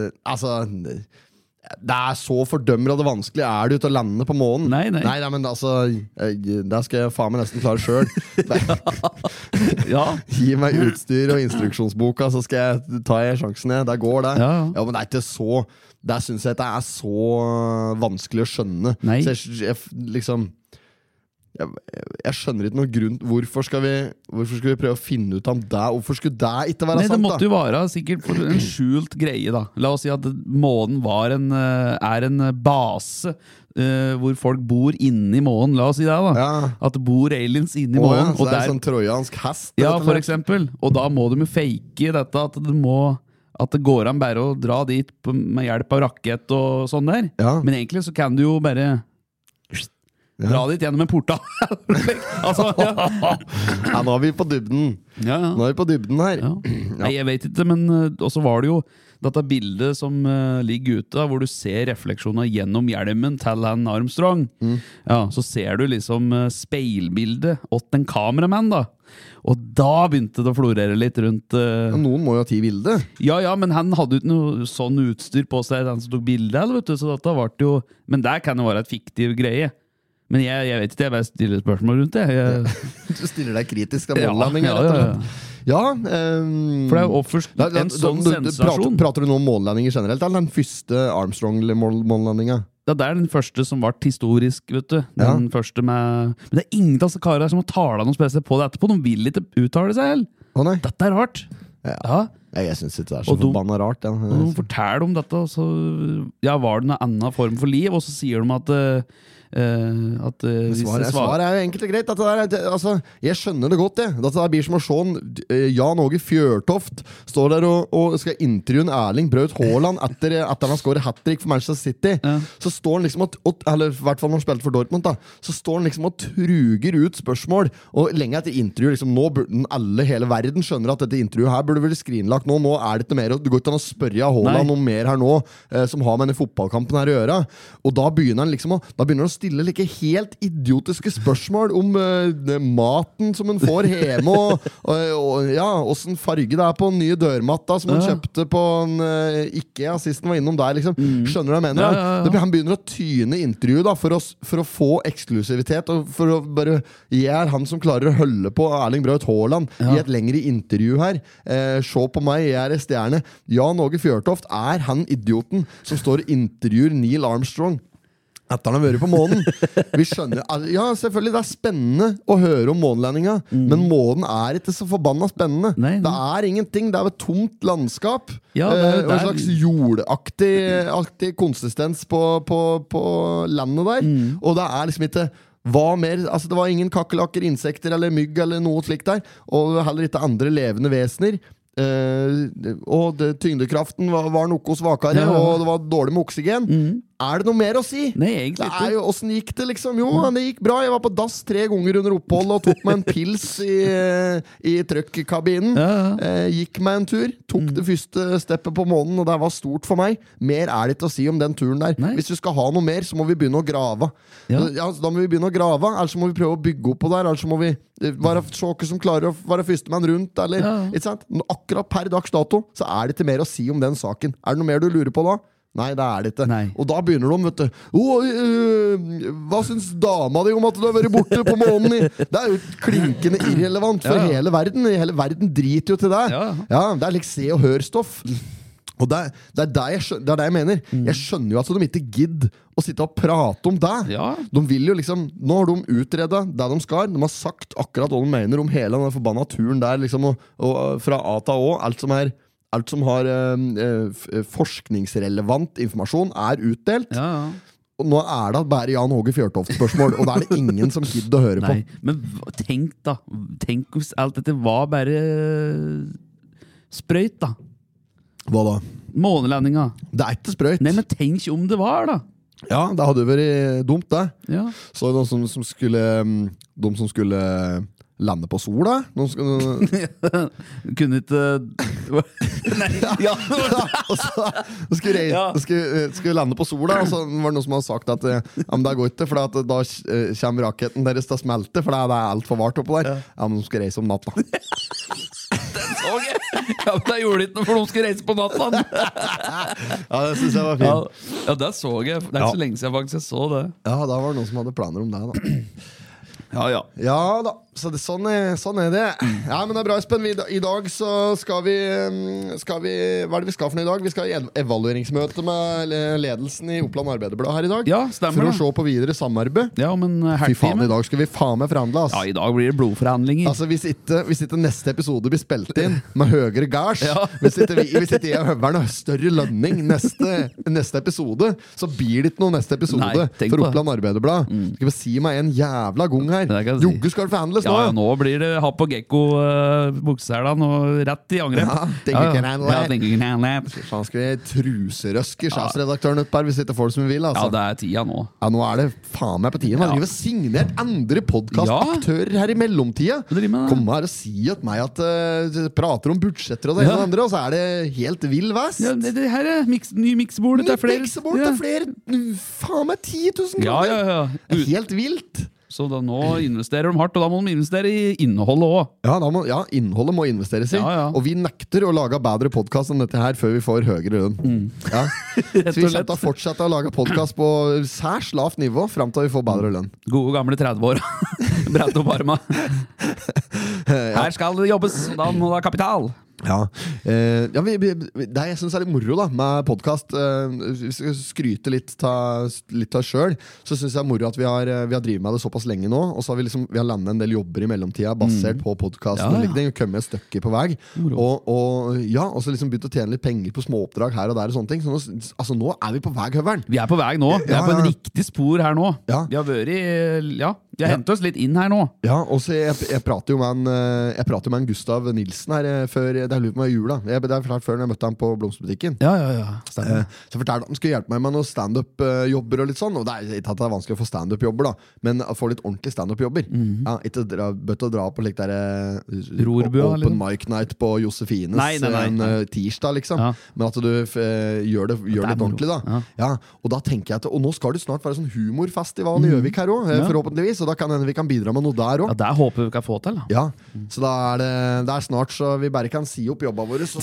Speaker 1: eh, altså Det er så fordømmer og det vanskelig er det ute å lande på månen.
Speaker 2: Nei, nei.
Speaker 1: nei, men altså jeg, Det skal jeg faen meg nesten klare sjøl.
Speaker 2: Ja,
Speaker 1: Gi meg utstyr og instruksjonsboka, så skal jeg ta jeg sjansen. Jeg. Der går det.
Speaker 2: Ja, ja.
Speaker 1: men det er ikke så Der syns jeg at det er så vanskelig å skjønne.
Speaker 2: Nei.
Speaker 1: Så jeg, jeg, liksom jeg, jeg skjønner ikke noen grunn Hvorfor skal vi Hvorfor skal vi prøve å finne ut om det? Hvorfor skulle det ikke være
Speaker 2: Nei, det
Speaker 1: sant?
Speaker 2: måtte
Speaker 1: da?
Speaker 2: jo være sikkert for en skjult greie, da. La oss si at månen var en, eh, er en base eh, hvor folk bor inni månen. La oss si det, da.
Speaker 1: Ja.
Speaker 2: At det bor aliens
Speaker 1: Å,
Speaker 2: inni
Speaker 1: ja,
Speaker 2: månen.
Speaker 1: så
Speaker 2: og
Speaker 1: det er
Speaker 2: der,
Speaker 1: en sånn trojansk hest?
Speaker 2: ja,
Speaker 1: rett og
Speaker 2: for
Speaker 1: slett.
Speaker 2: eksempel. Og da må de jo fake dette, at det, må, at det går an bare å dra dit på, med hjelp av rakett og sånn der.
Speaker 1: Ja.
Speaker 2: Men egentlig så kan du jo bare Dra dit gjennom en portal! altså, ja.
Speaker 1: ja, nå er vi på dybden.
Speaker 2: Ja, ja.
Speaker 1: Nå er vi på dybden her.
Speaker 2: Ja. Nei, jeg vet ikke, men eh, også var det jo dette bildet som eh, ligger ute, da, hvor du ser refleksjoner gjennom hjelmen til han Armstrong.
Speaker 1: Mm.
Speaker 2: Ja, så ser du liksom eh, speilbildet åt en kameramann, da. Og da begynte det å florere litt rundt eh,
Speaker 1: Noen må jo ha ti bilde.
Speaker 2: Ja ja, men han hadde jo ikke noe sånn utstyr på seg, den som tok bildet, eller, vet du, så dette ble jo Men der kan det være et fiktiv greie. Men jeg, jeg vet ikke, jeg bare stiller spørsmål rundt det. Jeg,
Speaker 1: Du stiller deg kritisk til
Speaker 2: Ja,
Speaker 1: mållanding.
Speaker 2: ja,
Speaker 1: rett og
Speaker 2: ja, ja.
Speaker 1: slett. Ja, ehm,
Speaker 2: For det er jo offers,
Speaker 1: Nei, nei,
Speaker 2: en
Speaker 1: du-
Speaker 2: sånn
Speaker 1: du- du-
Speaker 2: sensasjon.
Speaker 1: Prater, prater du nå om månelandinger generelt, eller den første Armstrong-månelandinga?
Speaker 2: Ja, det er den første som ble historisk, vet du. Den første med Men det er ingen av disse karene her som har tala noe spesielt på det etterpå. De vil ikke uttale seg heller.
Speaker 1: Å nei?
Speaker 2: Dette er rart.
Speaker 1: Ja.
Speaker 2: Ja.
Speaker 1: Nei, Jeg syns ikke det er så
Speaker 2: Og dum.
Speaker 1: forbanna rart. Ja.
Speaker 2: Og de forteller om dette, og så ja, var det en annen form for liv, og så sier de at eh, eh, at eh, hvis
Speaker 1: Svaret,
Speaker 2: det svar-
Speaker 1: svaret er jo enkelt og greit. Dette der, er- det, altså, jeg skjønner det godt. Jeg. Dette der blir som å se en, eh, Jan Åge Fjørtoft står der og, og skal intervjue en Erling Braut Haaland etter at han skårer hat trick for Manchester City. Så står han liksom og, og, Eller i hvert fall når han spilte for Dortmund. da Så står han liksom og truger ut spørsmål. Og lenge etter intervju liksom, Nå burde den- alle hele verden skjønner at dette intervjuet her burde bli skrinlagt nå. Nå er det ikke noe mer og Det går ikke an å spørre Haaland
Speaker 2: Nei.
Speaker 1: noe mer her nå eh, som har med denne fotballkampen her å gjøre. Og da begynner han liksom å, da begynner han å stille like helt idiotiske spørsmål om eh, det- maten som en får hjemme, og, og, og ja, åssen farge det er på den nye dørmatta som han
Speaker 2: Ja.
Speaker 1: kjøpte på en eh, Ikea sist han var innom der. liksom. Skjønner du hva jeg mener?
Speaker 2: Mm.
Speaker 1: da?
Speaker 2: Ja, ja, ja.
Speaker 1: Det blir- Han begynner å tyne intervjuet da, for, å s- for å få eksklusivitet. og for å bare, Jeg er han som klarer å holde på Erling Braut Haaland i et lengre intervju her. Eh, se på meg, jeg er en stjerne. Jan Åge Fjørtoft er han idioten som står og intervjuer Neil Armstrong. Etter han har vært på månen. Vi skjønner al- Ja, selvfølgelig, det er spennende å høre om månelandinga, men månen er ikke så forbanna spennende.
Speaker 2: Mm. Nei, nei.
Speaker 1: Det er ingenting. Det er et tomt landskap.
Speaker 2: Ja, det er-
Speaker 1: eh, og en
Speaker 2: det er-
Speaker 1: slags jordaktig aktig konsistens på, på, på landet der.
Speaker 2: Mm.
Speaker 1: Og det er liksom ikke hva mer, altså Det var ingen kakerlakker, insekter eller mygg eller noe slikt der. Og heller ikke andre levende vesener. Eh, og det, tyngdekraften var, var noe svakere,
Speaker 2: Ja, ja.
Speaker 1: og det var dårlig med oksygen. Er det noe mer å si?
Speaker 2: Nei,
Speaker 1: Det
Speaker 2: egentlig ikke. Mm.
Speaker 1: er jo, Åssen gikk det, liksom? Jo, det gikk bra. Jeg var på dass tre ganger under oppholdet og tok meg en pils i, i trøkkabinen.
Speaker 2: Ja, Mm. ja.
Speaker 1: Eh, gikk meg en tur, tok det første steppet på månen, og det var stort for meg. Mer er det ikke å si om den turen der.
Speaker 2: Nei.
Speaker 1: Hvis du skal ha noe mer, så må vi begynne å grave.
Speaker 2: Ja.
Speaker 1: Så, ja, så da må vi begynne å grave, eller så må vi prøve å bygge opp på det, her, eller så må vi eh, være se hvem som klarer å være førstemann rundt, eller
Speaker 2: Mm. Ja, ja.
Speaker 1: ikke sant? Nå, Akkurat per dags dato så er det ikke mer å si om den saken. Er det noe mer du lurer på da? Nei, det er det ikke.
Speaker 2: Nei.
Speaker 1: Og da begynner de, vet du. «Å, øh, hva syns dama di om at du har vært borte på månen? i?» Det er jo klinkende irrelevant for
Speaker 2: Ja, ja.
Speaker 1: hele verden. Hele verden driter jo til deg.
Speaker 2: Ja.
Speaker 1: det er like se og hør-stoff. Og det, er- det, er det, jeg skjønner, det er det jeg mener. Jeg skjønner jo at de ikke gidder å sitte og prate om deg.
Speaker 2: Ja.
Speaker 1: De vil jo liksom, Nå har de utreda det de skal. De har sagt akkurat hva de mener om hele den forbanna turen der. liksom, og, og Fra A til Å. Alt som, er, alt som har eh, eh, f- eh, forskningsrelevant informasjon, er utdelt.
Speaker 2: Ja, ja.
Speaker 1: Og nå er det bare Jan Håge Fjørtoft-spørsmål, og da er det ingen som gidder å høre på.
Speaker 2: Nei, men hva- tenk da. Tenk hvis alt dette var bare sprøyt, da.
Speaker 1: Hva da?
Speaker 2: Månelandinga.
Speaker 1: Det er ikke sprøyt.
Speaker 2: Nei, men tenk om det var, da!
Speaker 1: Ja, Det hadde jo vært eh, dumt, det.
Speaker 2: Ja.
Speaker 1: Så de som, som skulle mm, De som skulle eh, lande på sola de skulle,
Speaker 2: Kunne ikke eh, Nei, ja.
Speaker 1: og så de skulle, rei-
Speaker 2: Ja.
Speaker 1: de skulle, eh, skulle lande på sola, og så var det noen som hadde sagt at eh, ja, men det går ikke, for at da eh, kommer raketten deres til å smelte, for det er altfor varmt oppå der. Ja, men de skulle reise om natta.
Speaker 2: Ok. Ja, Ja, men det gjorde det ikke noe, for de skulle reise på natta!
Speaker 1: Ja, det syns jeg var
Speaker 2: Ja,
Speaker 1: fint.
Speaker 2: ja, det så jeg. Det er ikke
Speaker 1: Ja.
Speaker 2: så lenge siden jeg faktisk så det.
Speaker 1: Ja, da var det noen som hadde planer om det, da.
Speaker 2: Ja, ja.
Speaker 1: Ja da, så det, sånn, er, sånn er det. Ja, men det er bra, Espen. Vi, I dag så skal vi, mm, skal vi Hva er det vi skal for noe i dag? Vi skal i ev- evalueringsmøte med le- ledelsen i Oppland Arbeiderblad her i dag.
Speaker 2: Ja, stemmer
Speaker 1: For å
Speaker 2: det.
Speaker 1: se på videre samarbeid.
Speaker 2: Ja, men
Speaker 1: Fy faen,
Speaker 2: helgtime
Speaker 1: i dag skal vi faen meg forhandle, ass.
Speaker 2: Ja, i dag blir det blodforhandlinger.
Speaker 1: Altså, hvis ikke, hvis ikke neste episode blir spilt inn med høyere gasj,
Speaker 2: Ja.
Speaker 1: hvis, ikke vi, hvis ikke jeg og Høveren har større lønning neste, neste episode, så blir det ikke noe neste episode
Speaker 2: Nei,
Speaker 1: for
Speaker 2: tenk på det. Mm.
Speaker 1: Oppland Arbeiderblad. Skal vi si meg en jævla gang her?
Speaker 2: Det kan jeg si.
Speaker 1: Jogge skal det forhandles
Speaker 2: ja,
Speaker 1: nå!
Speaker 2: ja, nå blir det ha på gekko uh, bukseselene og rett i angrep.
Speaker 1: Ja, tenker ikke handle.
Speaker 2: Ja, tenker ikke handle.
Speaker 1: Faen, skal vi truserøske sjefsredaktøren ut par hvis ikke folk som vil,
Speaker 2: ja,
Speaker 1: altså? Ja,
Speaker 2: det er tida nå.
Speaker 1: nå er det faen meg på tiden. Man
Speaker 2: Ja.
Speaker 1: driver og signert andre podkastaktører her i mellomtida.
Speaker 2: Hva driver med det?
Speaker 1: Kom her og si at meg at eh, du prater om budsjetter og det ene
Speaker 2: Ja.
Speaker 1: og det andre, og så er det helt vill vest.
Speaker 2: Ja, det, det her er miks, ny miksebord. Det er flere.
Speaker 1: Miksebord til flere Faen meg 10 000
Speaker 2: Ja, ja,
Speaker 1: kroner!
Speaker 2: ja.
Speaker 1: Det er
Speaker 2: Ut,
Speaker 1: Helt vilt!
Speaker 2: så da, nå investerer de hardt, og da må de investere i innholdet òg.
Speaker 1: Ja, da må, ja, Innholdet må investeres i.
Speaker 2: Ja, ja.
Speaker 1: Og vi nekter å lage bedre podkast enn dette her før vi får høyere lønn. Ja. Så vi
Speaker 2: Mm. og
Speaker 1: skal
Speaker 2: slett.
Speaker 1: da fortsette å lage podkast på særs lavt nivå fram til vi får bedre lønn.
Speaker 2: Gode, gamle 30-åra. Brett opp arma. Her skal det jobbes, og da må det ha kapital.
Speaker 1: Ja, eh, ja vi, vi, vi- Det jeg syns er litt moro da med podkast eh, Hvis vi skal skryte litt ta- litt av sjøl, så syns jeg det er moro at vi har, eh, vi har drevet med det såpass lenge nå. Og så har vi liksom Vi har landet en del jobber i mellomtida basert på podkasten.
Speaker 2: Mm. Ja, ja.
Speaker 1: Og liksom kommet et stykke på vei. Og, og, ja, og så liksom begynt å tjene litt penger på småoppdrag her og der. og sånne ting Så nå, s- altså, nå er vi på vei, Høveren!
Speaker 2: Vi er på vei nå. Vi
Speaker 1: Ja,
Speaker 2: er på
Speaker 1: ja.
Speaker 2: en riktig spor her nå.
Speaker 1: Ja.
Speaker 2: Vi har vært i- Ja, vi har hentet oss litt inn her nå.
Speaker 1: Ja, og så jeg, jeg prater jo med en, eh, Jeg prater jo med en Gustav Nilsen her eh, før Det er lurt med jula. Jeg, det er klart før når jeg møtte ham på blomsterbutikken.
Speaker 2: Ja, ja, ja. Stemmer.
Speaker 1: Eh, Så fortalte han skulle hjelpe meg med noen standup-jobber. Og litt sånn Og det er ikke at det er vanskelig å få standup-jobber, da men å få litt ordentlige standup-jobber.
Speaker 2: Mhm.
Speaker 1: Ja, ikke dra, bøtt å dra på like der, eh,
Speaker 2: Rorbua,
Speaker 1: Open
Speaker 2: liksom.
Speaker 1: mic night på Josefines
Speaker 2: Nei, nei, nei.
Speaker 1: en eh, tirsdag, liksom.
Speaker 2: Ja.
Speaker 1: Men at du f, eh, gjør det, gjør det
Speaker 2: At det er
Speaker 1: ordentlig, da. Ja.
Speaker 2: moro.
Speaker 1: Og da tenker jeg at Og nå skal det snart være sånn humorfestival i Gjøvik her òg,
Speaker 2: Mhm. Ja.
Speaker 1: forhåpentligvis. Og da kan hende vi kan bidra med noe der òg.
Speaker 2: Ja, Det håper vi vi kan få til. da
Speaker 1: Ja, så da er det, det er snart så vi bare kan si opp jobba våre, og så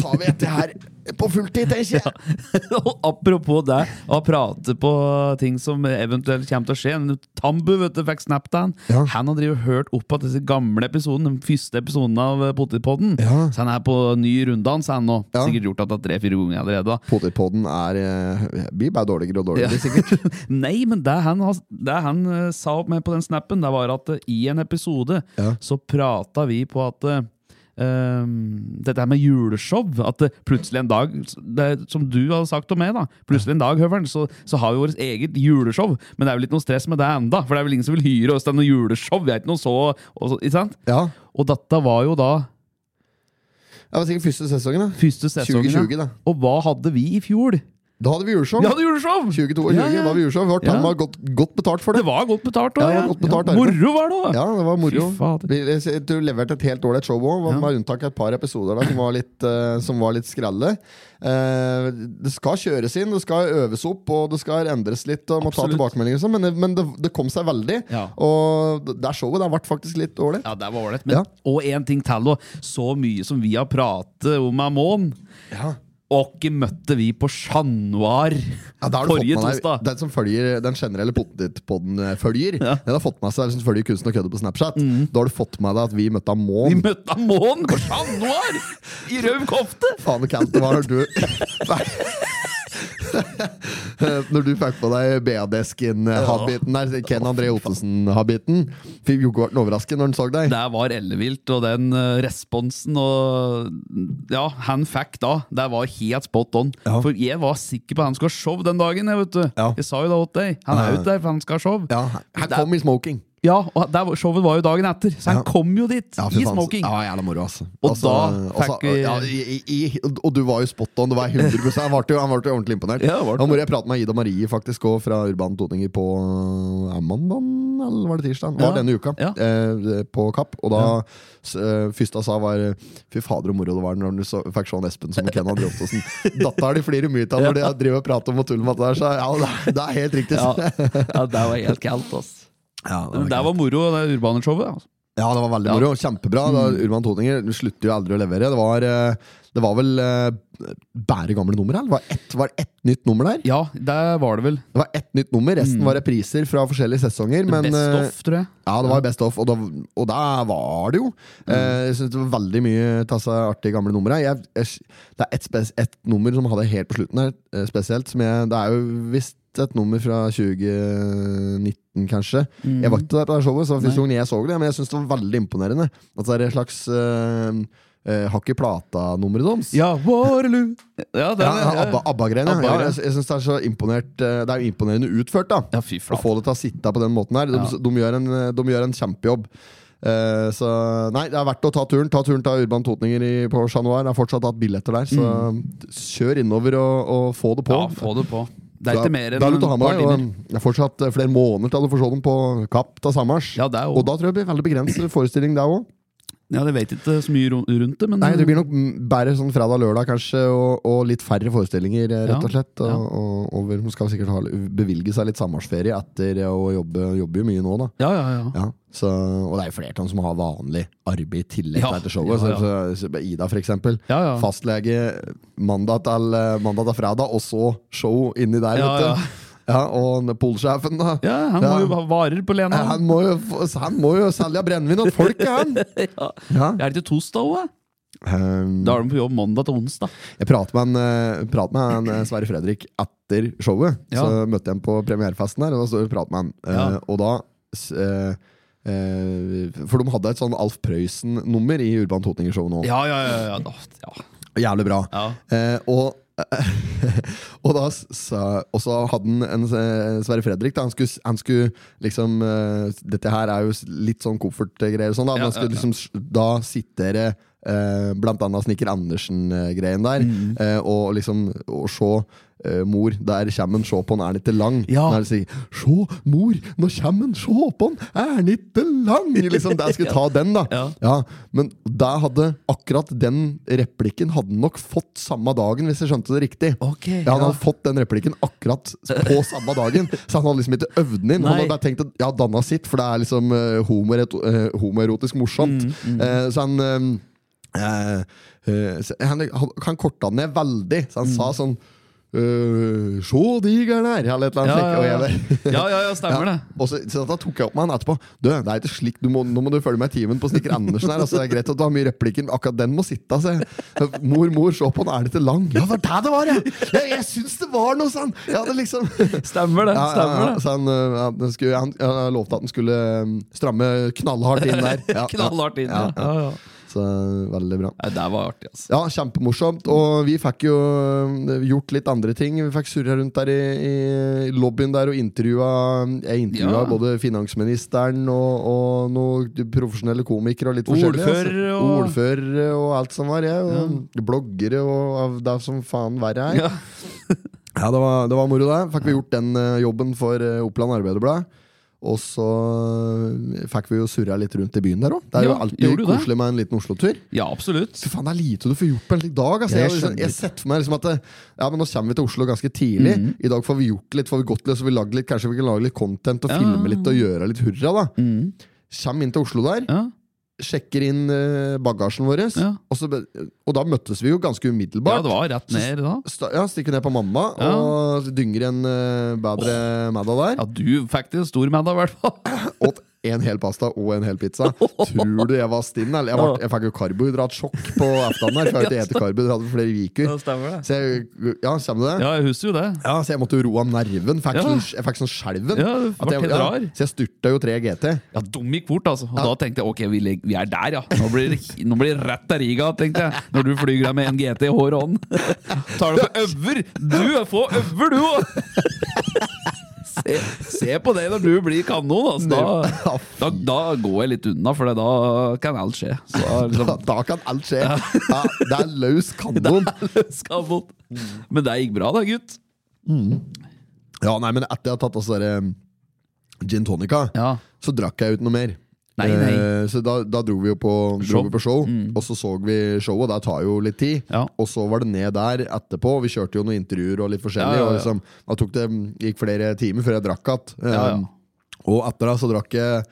Speaker 1: tar vi etter her på fulltid, tenker jeg.
Speaker 2: Og Apropos det, å prate på ting som eventuelt kommer til å skje. En Tambu vet du, fikk snap til han.
Speaker 1: Ja.
Speaker 2: Han har drivet og hørt opp på disse gamle episoden, den første episoden av Potetpodden.
Speaker 1: Ja.
Speaker 2: Så han er på ny runddans, han nå.
Speaker 1: Ja.
Speaker 2: Sikkert gjort det tre-fire ganger allerede. da.
Speaker 1: Potetpodden er eh, blir bare dårligere og
Speaker 2: Ja.
Speaker 1: dårligere.
Speaker 2: Nei, men det han, har- det han eh, sa opp med på den snappen, det var at eh, i en episode
Speaker 1: Ja.
Speaker 2: så prata vi på at eh, ehm, dette her med juleshow At eh, plutselig en dag, det, som du hadde sagt om meg, da plutselig en dag Høveren, så, så har vi vårt eget juleshow. Men det er vel ikke noe stress med det enda for det er vel ingen som vil hyre oss til noe juleshow. Vi er ikke noe så, og, så- ikke sant?
Speaker 1: Ja.
Speaker 2: og dette var jo da
Speaker 1: Det var sikkert første sesongen, da.
Speaker 2: første sesongen.
Speaker 1: 2020,
Speaker 2: ja.
Speaker 1: da.
Speaker 2: Og hva hadde vi i fjor?
Speaker 1: Da hadde vi juleshow.
Speaker 2: Vi hadde juleshow!
Speaker 1: 2022
Speaker 2: Ja, ja.
Speaker 1: da hadde vi juleshow. Vi var
Speaker 2: Ja.
Speaker 1: tamma godt, godt betalt for det.
Speaker 2: Det var godt betalt
Speaker 1: Ja,
Speaker 2: òg.
Speaker 1: det var godt betalt arbeid.
Speaker 2: Moro var det òg!
Speaker 1: Ja, det var moro.
Speaker 2: Fy fader.
Speaker 1: Vi- jeg ser- Du leverte et helt ålreit show òg, med unntak av et par episoder der som var litt, eh, som var litt skralle. Eh, det skal kjøres inn, det skal øves opp, og det skal endres litt. Og må ta
Speaker 2: Absolutt.
Speaker 1: tilbakemeldinger og sånn, Men, det, men det, det kom seg veldig.
Speaker 2: Ja.
Speaker 1: Og det det showet der ble faktisk litt ålreit.
Speaker 2: Ja, det var ålreit. men-
Speaker 1: Ja.
Speaker 2: Og én ting til, og så mye som vi har pratet om Amon.
Speaker 1: Ja.
Speaker 2: Og møtte vi på Chat Noir
Speaker 1: Ja, da har du fått
Speaker 2: forrige
Speaker 1: med deg,
Speaker 2: torsdag.
Speaker 1: Den som følger Den generelle potetpodden-følger, eh, den har fått med seg den som følger kunsten og kødde på Snapchat. Da har du fått med deg at vi møtte
Speaker 2: Mhm. Vi
Speaker 1: Amon.
Speaker 2: møtte Amon på Chat Noir! I rød kofte!
Speaker 1: Faen, det kan det være når du Når du fikk på deg BAD-skin-habiten der, Ken André Ottesen-habiten Fikk jo ikke vært overrasket når han så deg.
Speaker 2: Det var ellevilt, og den eh, responsen og Ja, han fikk da. Det var helt spot on.
Speaker 1: Ja.
Speaker 2: For jeg var sikker på at han skulle ha show den dagen. Jeg, vet du.
Speaker 1: Ja.
Speaker 2: jeg sa jo det til deg. Han er ute der, for han skal ha show.
Speaker 1: Ja, han kom i smoking.
Speaker 2: Ja, og der, var- showet var jo dagen etter, så han
Speaker 1: Ja.
Speaker 2: kom jo dit
Speaker 1: Ja, fy
Speaker 2: i
Speaker 1: faen.
Speaker 2: smoking.
Speaker 1: Ja, jævla moro, altså.
Speaker 2: Og
Speaker 1: altså,
Speaker 2: da
Speaker 1: altså,
Speaker 2: fikk vi-
Speaker 1: ja, i, i, i, Og du var jo spot on. Du var 100 Han ble jo, han ble jo ordentlig imponert.
Speaker 2: Ja, det var det.
Speaker 1: Da må jeg prate med Ida Marie faktisk også fra Urban Toninger på eh, mandag, eller var det tirsdag? Var
Speaker 2: Ja.
Speaker 1: denne uka.
Speaker 2: Ja.
Speaker 1: Eh, på Kapp. Og da s- eh, første jeg sa, var eh, Fy fader, hvor moro det var når du så, fikk sånn Espen som Ken André Ottosen. Dattera di flirer mye av når de driver og prater om og tuller med det der. Så ja, det, er- det er helt riktig.
Speaker 2: Ja, ja det var helt kaldt, ass.
Speaker 1: Ja, det var
Speaker 2: Men det var moro, det urbane showet. Altså.
Speaker 1: Ja, det var veldig moro. Kjempebra. Da, Urban Totinger slutter jo aldri å levere. Det var, eh, det var vel eh, bare gamle nummer her? Det var ett, var det ett nytt nummer der?
Speaker 2: Ja, der var det vel.
Speaker 1: Det var ett nytt nummer, resten var repriser fra forskjellige sesonger. Men,
Speaker 2: Best
Speaker 1: eh,
Speaker 2: off, tror jeg.
Speaker 1: Ja, det var best off, og da, og da var det jo. Eh, Jeg synes det var veldig mye tasse artige gamle numre. Jeg, jeg, det er ett spes- ett nummer som hadde helt på slutten her, eh, spesielt. Som jeg, det er jo visst et nummer fra 2019, kanskje. Jeg var ikke der på det showet, så det var første gang jeg så det, men jeg syns det var veldig imponerende. At det er et slags eh, eh, hakk i plata-nummeret deres.
Speaker 2: Ja, Waterloo! Ja, den,
Speaker 1: Ja,
Speaker 2: ja, ja.
Speaker 1: Abba- Abba-greiene. ja.
Speaker 2: Abba-greiene.
Speaker 1: ja, jeg jeg syns det er så imponert eh, Det er jo imponerende utført, da.
Speaker 2: Ja, fy
Speaker 1: Å få
Speaker 2: flate.
Speaker 1: det til å sitte på den måten her. De,
Speaker 2: Ja.
Speaker 1: de, gjør, en, de gjør en kjempejobb. Eh, så nei, det er verdt å ta turen. Ta turen til Urban Totninger i, på Chat Noir. Jeg har fortsatt hatt billetter der, så kjør innover og, og få det på.
Speaker 2: Mm. Ja, få det på. Det er ikke mer
Speaker 1: da, da er det
Speaker 2: enn
Speaker 1: å ha med
Speaker 2: par
Speaker 1: deg, og,
Speaker 2: timer.
Speaker 1: um, Det er fortsatt eh, flere måneder til du får se dem på Kapp til Samars.
Speaker 2: Ja, det er jo
Speaker 1: og da tror jeg det blir veldig begrenset forestilling, det òg.
Speaker 2: Ja, jeg vet ikke så mye ro- rundt det, men
Speaker 1: Nei, det blir nok mm, bare sånn fredag-lørdag, kanskje, og, og litt færre forestillinger, eh,
Speaker 2: Ja,
Speaker 1: rett og slett. Og,
Speaker 2: ja.
Speaker 1: og, og de skal sikkert ha, bevilge seg litt Samarsferie etter å jobbe, jobbe jo mye nå, da.
Speaker 2: Ja, ja, ja.
Speaker 1: Ja, så, og det er jo flertall som har vanlig arbeid i tillegg
Speaker 2: Ja,
Speaker 1: til etter showet.
Speaker 2: ja,
Speaker 1: Så,
Speaker 2: ja.
Speaker 1: så, så, Ida, for eksempel.
Speaker 2: Ja, ja.
Speaker 1: Fastlege mandag til, mandag til fredag, og så show inni der.
Speaker 2: Ja,
Speaker 1: vet du. Ja, og den polsjefen, da.
Speaker 2: ja han må jo ha varer på
Speaker 1: Ja,
Speaker 2: Lena.
Speaker 1: Han må jo, få- han må jo selge brennevin til folket, han! Ja.
Speaker 2: Er det ikke tosdag òg?
Speaker 1: Um,
Speaker 2: Da er de på jobb mandag til onsdag.
Speaker 1: Jeg pratet med, en, eh, pratet med en eh, Sverre Fredrik etter showet.
Speaker 2: Ja.
Speaker 1: Så møtte jeg ham på premierefesten der, og da stod vi og pratet med han. Eh,
Speaker 2: Ja.
Speaker 1: Og da s- eh, eh, For de hadde et sånn Alf Prøysen-nummer i Urban Totninger-show nå.
Speaker 2: Ja, ja, ja. ja. da- ja.
Speaker 1: Jævlig bra.
Speaker 2: ja.
Speaker 1: Eh, og og da s- sa Og så hadde han en eh, Sverre Fredrik. Da. Han, skulle, s- han skulle liksom eh, Dette her er jo s- litt sånn koffertgreier og sånn, da. Men
Speaker 2: Ja,
Speaker 1: han skulle
Speaker 2: ja, ja.
Speaker 1: liksom s- Da sitter det eh, blant annet Snikker Andersen-greien der.
Speaker 2: Mm.
Speaker 1: Eh, og liksom Å se eh, mor, der kommer han, se på han, er han ikke lang?
Speaker 2: Ja.
Speaker 1: Når han sier 'Sjå, mor, nå kommer han, se på han, er han ikke lang?' Liksom, der skulle ta den, da.
Speaker 2: Ja.
Speaker 1: Ja, men der hadde akkurat den replikken hadde han nok fått samme dagen, hvis jeg skjønte det riktig.
Speaker 2: Ok.
Speaker 1: Ja, Han hadde fått den replikken akkurat på samme dagen, så han hadde liksom ikke øvd den inn. Han
Speaker 2: Nei.
Speaker 1: hadde bare tenkt at ja, danna sitt, for det er liksom eh, homoeroto- eh, homoerotisk morsomt.
Speaker 2: Mm,
Speaker 1: Eh, så han eh, eh, så han, han, han korta den ned veldig, så
Speaker 2: Mm.
Speaker 1: han sa sånn Uh, Sjå digeren her, eller et eller annet. slikt, og jeg
Speaker 2: ja, ja.
Speaker 1: bare-
Speaker 2: ja, ja, ja stemmer det.
Speaker 1: og så, så da tok jeg opp med han etterpå. Du, det er ikke slik, du må, Nå må du følge med i timen på snekker Andersen. her altså, Det er greit at du har mye replikker, men akkurat den må sitte. Altså. Mor, mor, se på han, er det ikke lang? Ja, det var der det var, ja! Jeg, jeg syns det var noe sånn! Ja, det liksom
Speaker 2: Stemmer det.
Speaker 1: ja, ja,
Speaker 2: stemmer
Speaker 1: ja.
Speaker 2: det
Speaker 1: Så han, øh, han, skulle, han, han lovte at han skulle øh, stramme knallhardt inn der. Ja,
Speaker 2: Knallhardt inn. Ja, ja, ja.
Speaker 1: Ja, så eh, veldig bra.
Speaker 2: Nei, det var artig, altså.
Speaker 1: Ja, kjempemorsomt. Og vi fikk jo øh, gjort litt andre ting. Vi fikk surra rundt der i, i lobbyen der og intervjua Jeg intervjua
Speaker 2: Ja.
Speaker 1: både finansministeren og, og noen profesjonelle komikere og litt forskjellig.
Speaker 2: Ordfører
Speaker 1: altså.
Speaker 2: og-
Speaker 1: Ordførere og alt som var, ja. Og bloggere og av det som faen verre er. Ja,
Speaker 2: Ja.
Speaker 1: det, var, det var moro, det. Fikk vi gjort den øh, jobben for øh, Oppland Arbeiderblad. Og så øh, fikk vi jo surra litt rundt i byen der òg. Det er jo
Speaker 2: Ja, gjorde
Speaker 1: alltid
Speaker 2: du det?
Speaker 1: koselig med en liten Oslo-tur.
Speaker 2: ja, absolutt.
Speaker 1: Fy faen, det er lite du får gjort på en slik dag. Altså.
Speaker 2: Ja,
Speaker 1: Jeg,
Speaker 2: jeg
Speaker 1: liksom,
Speaker 2: skjønner
Speaker 1: jeg
Speaker 2: litt.
Speaker 1: setter for meg liksom at det, ja, men Nå kommer vi til Oslo ganske tidlig.
Speaker 2: Mhm.
Speaker 1: I dag får vi gjort litt, får vi gått litt, så vi lagd litt, kanskje vi kan lage litt content og
Speaker 2: Ja.
Speaker 1: filme litt og gjøre litt hurra. da
Speaker 2: Mm.
Speaker 1: Kjem inn til Oslo der,
Speaker 2: Ja,
Speaker 1: sjekker inn eh, bagasjen vår,
Speaker 2: Ja.
Speaker 1: og, så, be- og da møttes vi jo ganske
Speaker 2: ja,
Speaker 1: umiddelbart.
Speaker 2: det var rett ned da.
Speaker 1: Sta- ja, Stikker ned på mamma
Speaker 2: Ja.
Speaker 1: og dynger en eh, bedre middag der.
Speaker 2: Ja, du fikk det stor med deg, i hvert fall.
Speaker 1: Åt en hel pasta og en hel pizza. Tror du jeg var stinn? Eller? Jeg, var, jeg fikk jo karbohydratsjokk på ettermiddagen. her, For jeg har ikke spist karbohydrater for flere uker.
Speaker 2: stemmer
Speaker 1: Så
Speaker 2: det.
Speaker 1: jeg, ja, kommer det? Ja.
Speaker 2: Ja, jeg husker jo det.
Speaker 1: så jeg måtte jo roe av nerven. Fikk
Speaker 2: Ja.
Speaker 1: sånn, jeg fikk sånn skjelven.
Speaker 2: Ja,
Speaker 1: At
Speaker 2: det ble
Speaker 1: jeg-
Speaker 2: helt
Speaker 1: ja,
Speaker 2: rar.
Speaker 1: så jeg styrta jo 3 GT.
Speaker 2: Ja, dum gikk fort, altså. Og da tenkte jeg ok, vi, legg- vi er der, ja. Nå blir det, nå blir det rett til Riga, tenkte jeg. Når du flyr deg med en GT i hår og hånd. Tar du på øver? Du får øver, du òg! Se, se på det når du blir kanon. Altså. Da, da, da går jeg litt unna, for da kan alt skje. Så da,
Speaker 1: Da,
Speaker 2: liksom,
Speaker 1: da kan alt skje. Ja, det er løs kanon.
Speaker 2: skal mot. Mm. Men det gikk bra, da, gutt.
Speaker 1: Ja, nei, men etter jeg har tatt altså der, eh, gin tonica,
Speaker 2: Ja.
Speaker 1: så drakk jeg ut noe mer.
Speaker 2: Nei, nei.
Speaker 1: Eh, Så da, da dro vi jo på show,
Speaker 2: Show. Mm.
Speaker 1: dro vi på show og så så vi showet. Det tar jo litt tid.
Speaker 2: Ja.
Speaker 1: Og så var det ned der etterpå. og Vi kjørte jo noen intervjuer og litt forskjellig.
Speaker 2: Ja, ja, ja.
Speaker 1: Og liksom, da tok det, gikk flere timer før jeg drakk igjen.
Speaker 2: Ja, ja.
Speaker 1: Og etter det så drakk jeg